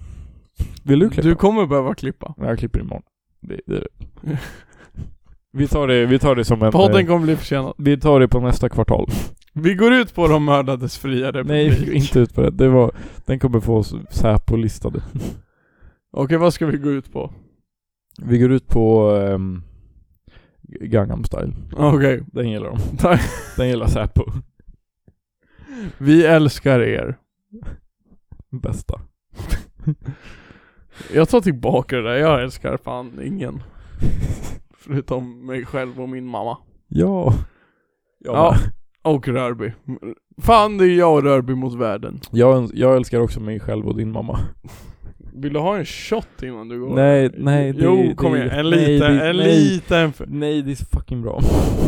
Vill du klippa? Du kommer behöva klippa. Nej, Jag klipper imorgon. Det, det är det. Vi tar det, vi tar det som en... Podden eh, kommer bli försenad. Vi tar det på nästa kvartal. Vi går ut på de mördades fria Nej, republik. vi går inte ut på det. det var, den kommer få oss Säpo-listade. Okej, vad ska vi gå ut på? Vi går ut på um, Gangnam style. Okej, Den gillar de. tack. Den gillar Säpo. Vi älskar er. Bästa. Jag tar tillbaka det där, jag älskar fan ingen. Förutom mig själv och min mamma. Ja. Jag, Ja. ja. Och Rörby. Fan, det är jag och Rörby mot världen. Jag, öns- jag älskar också mig själv och din mamma. Vill du ha en shot innan du går? Nej, nej, det- Jo, det- kom igen. En nej, liten, det- en nej. liten, fu- Nej, det är så fucking bra.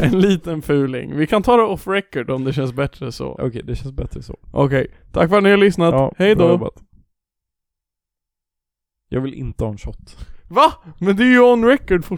en liten fuling. Vi kan ta det off record om det känns bättre så. Okej, det känns bättre så. Okej, tack för att ni har lyssnat. Hej bra då. jobbat. Jag vill inte ha en shot. Va? Men det är ju on record fortfarande.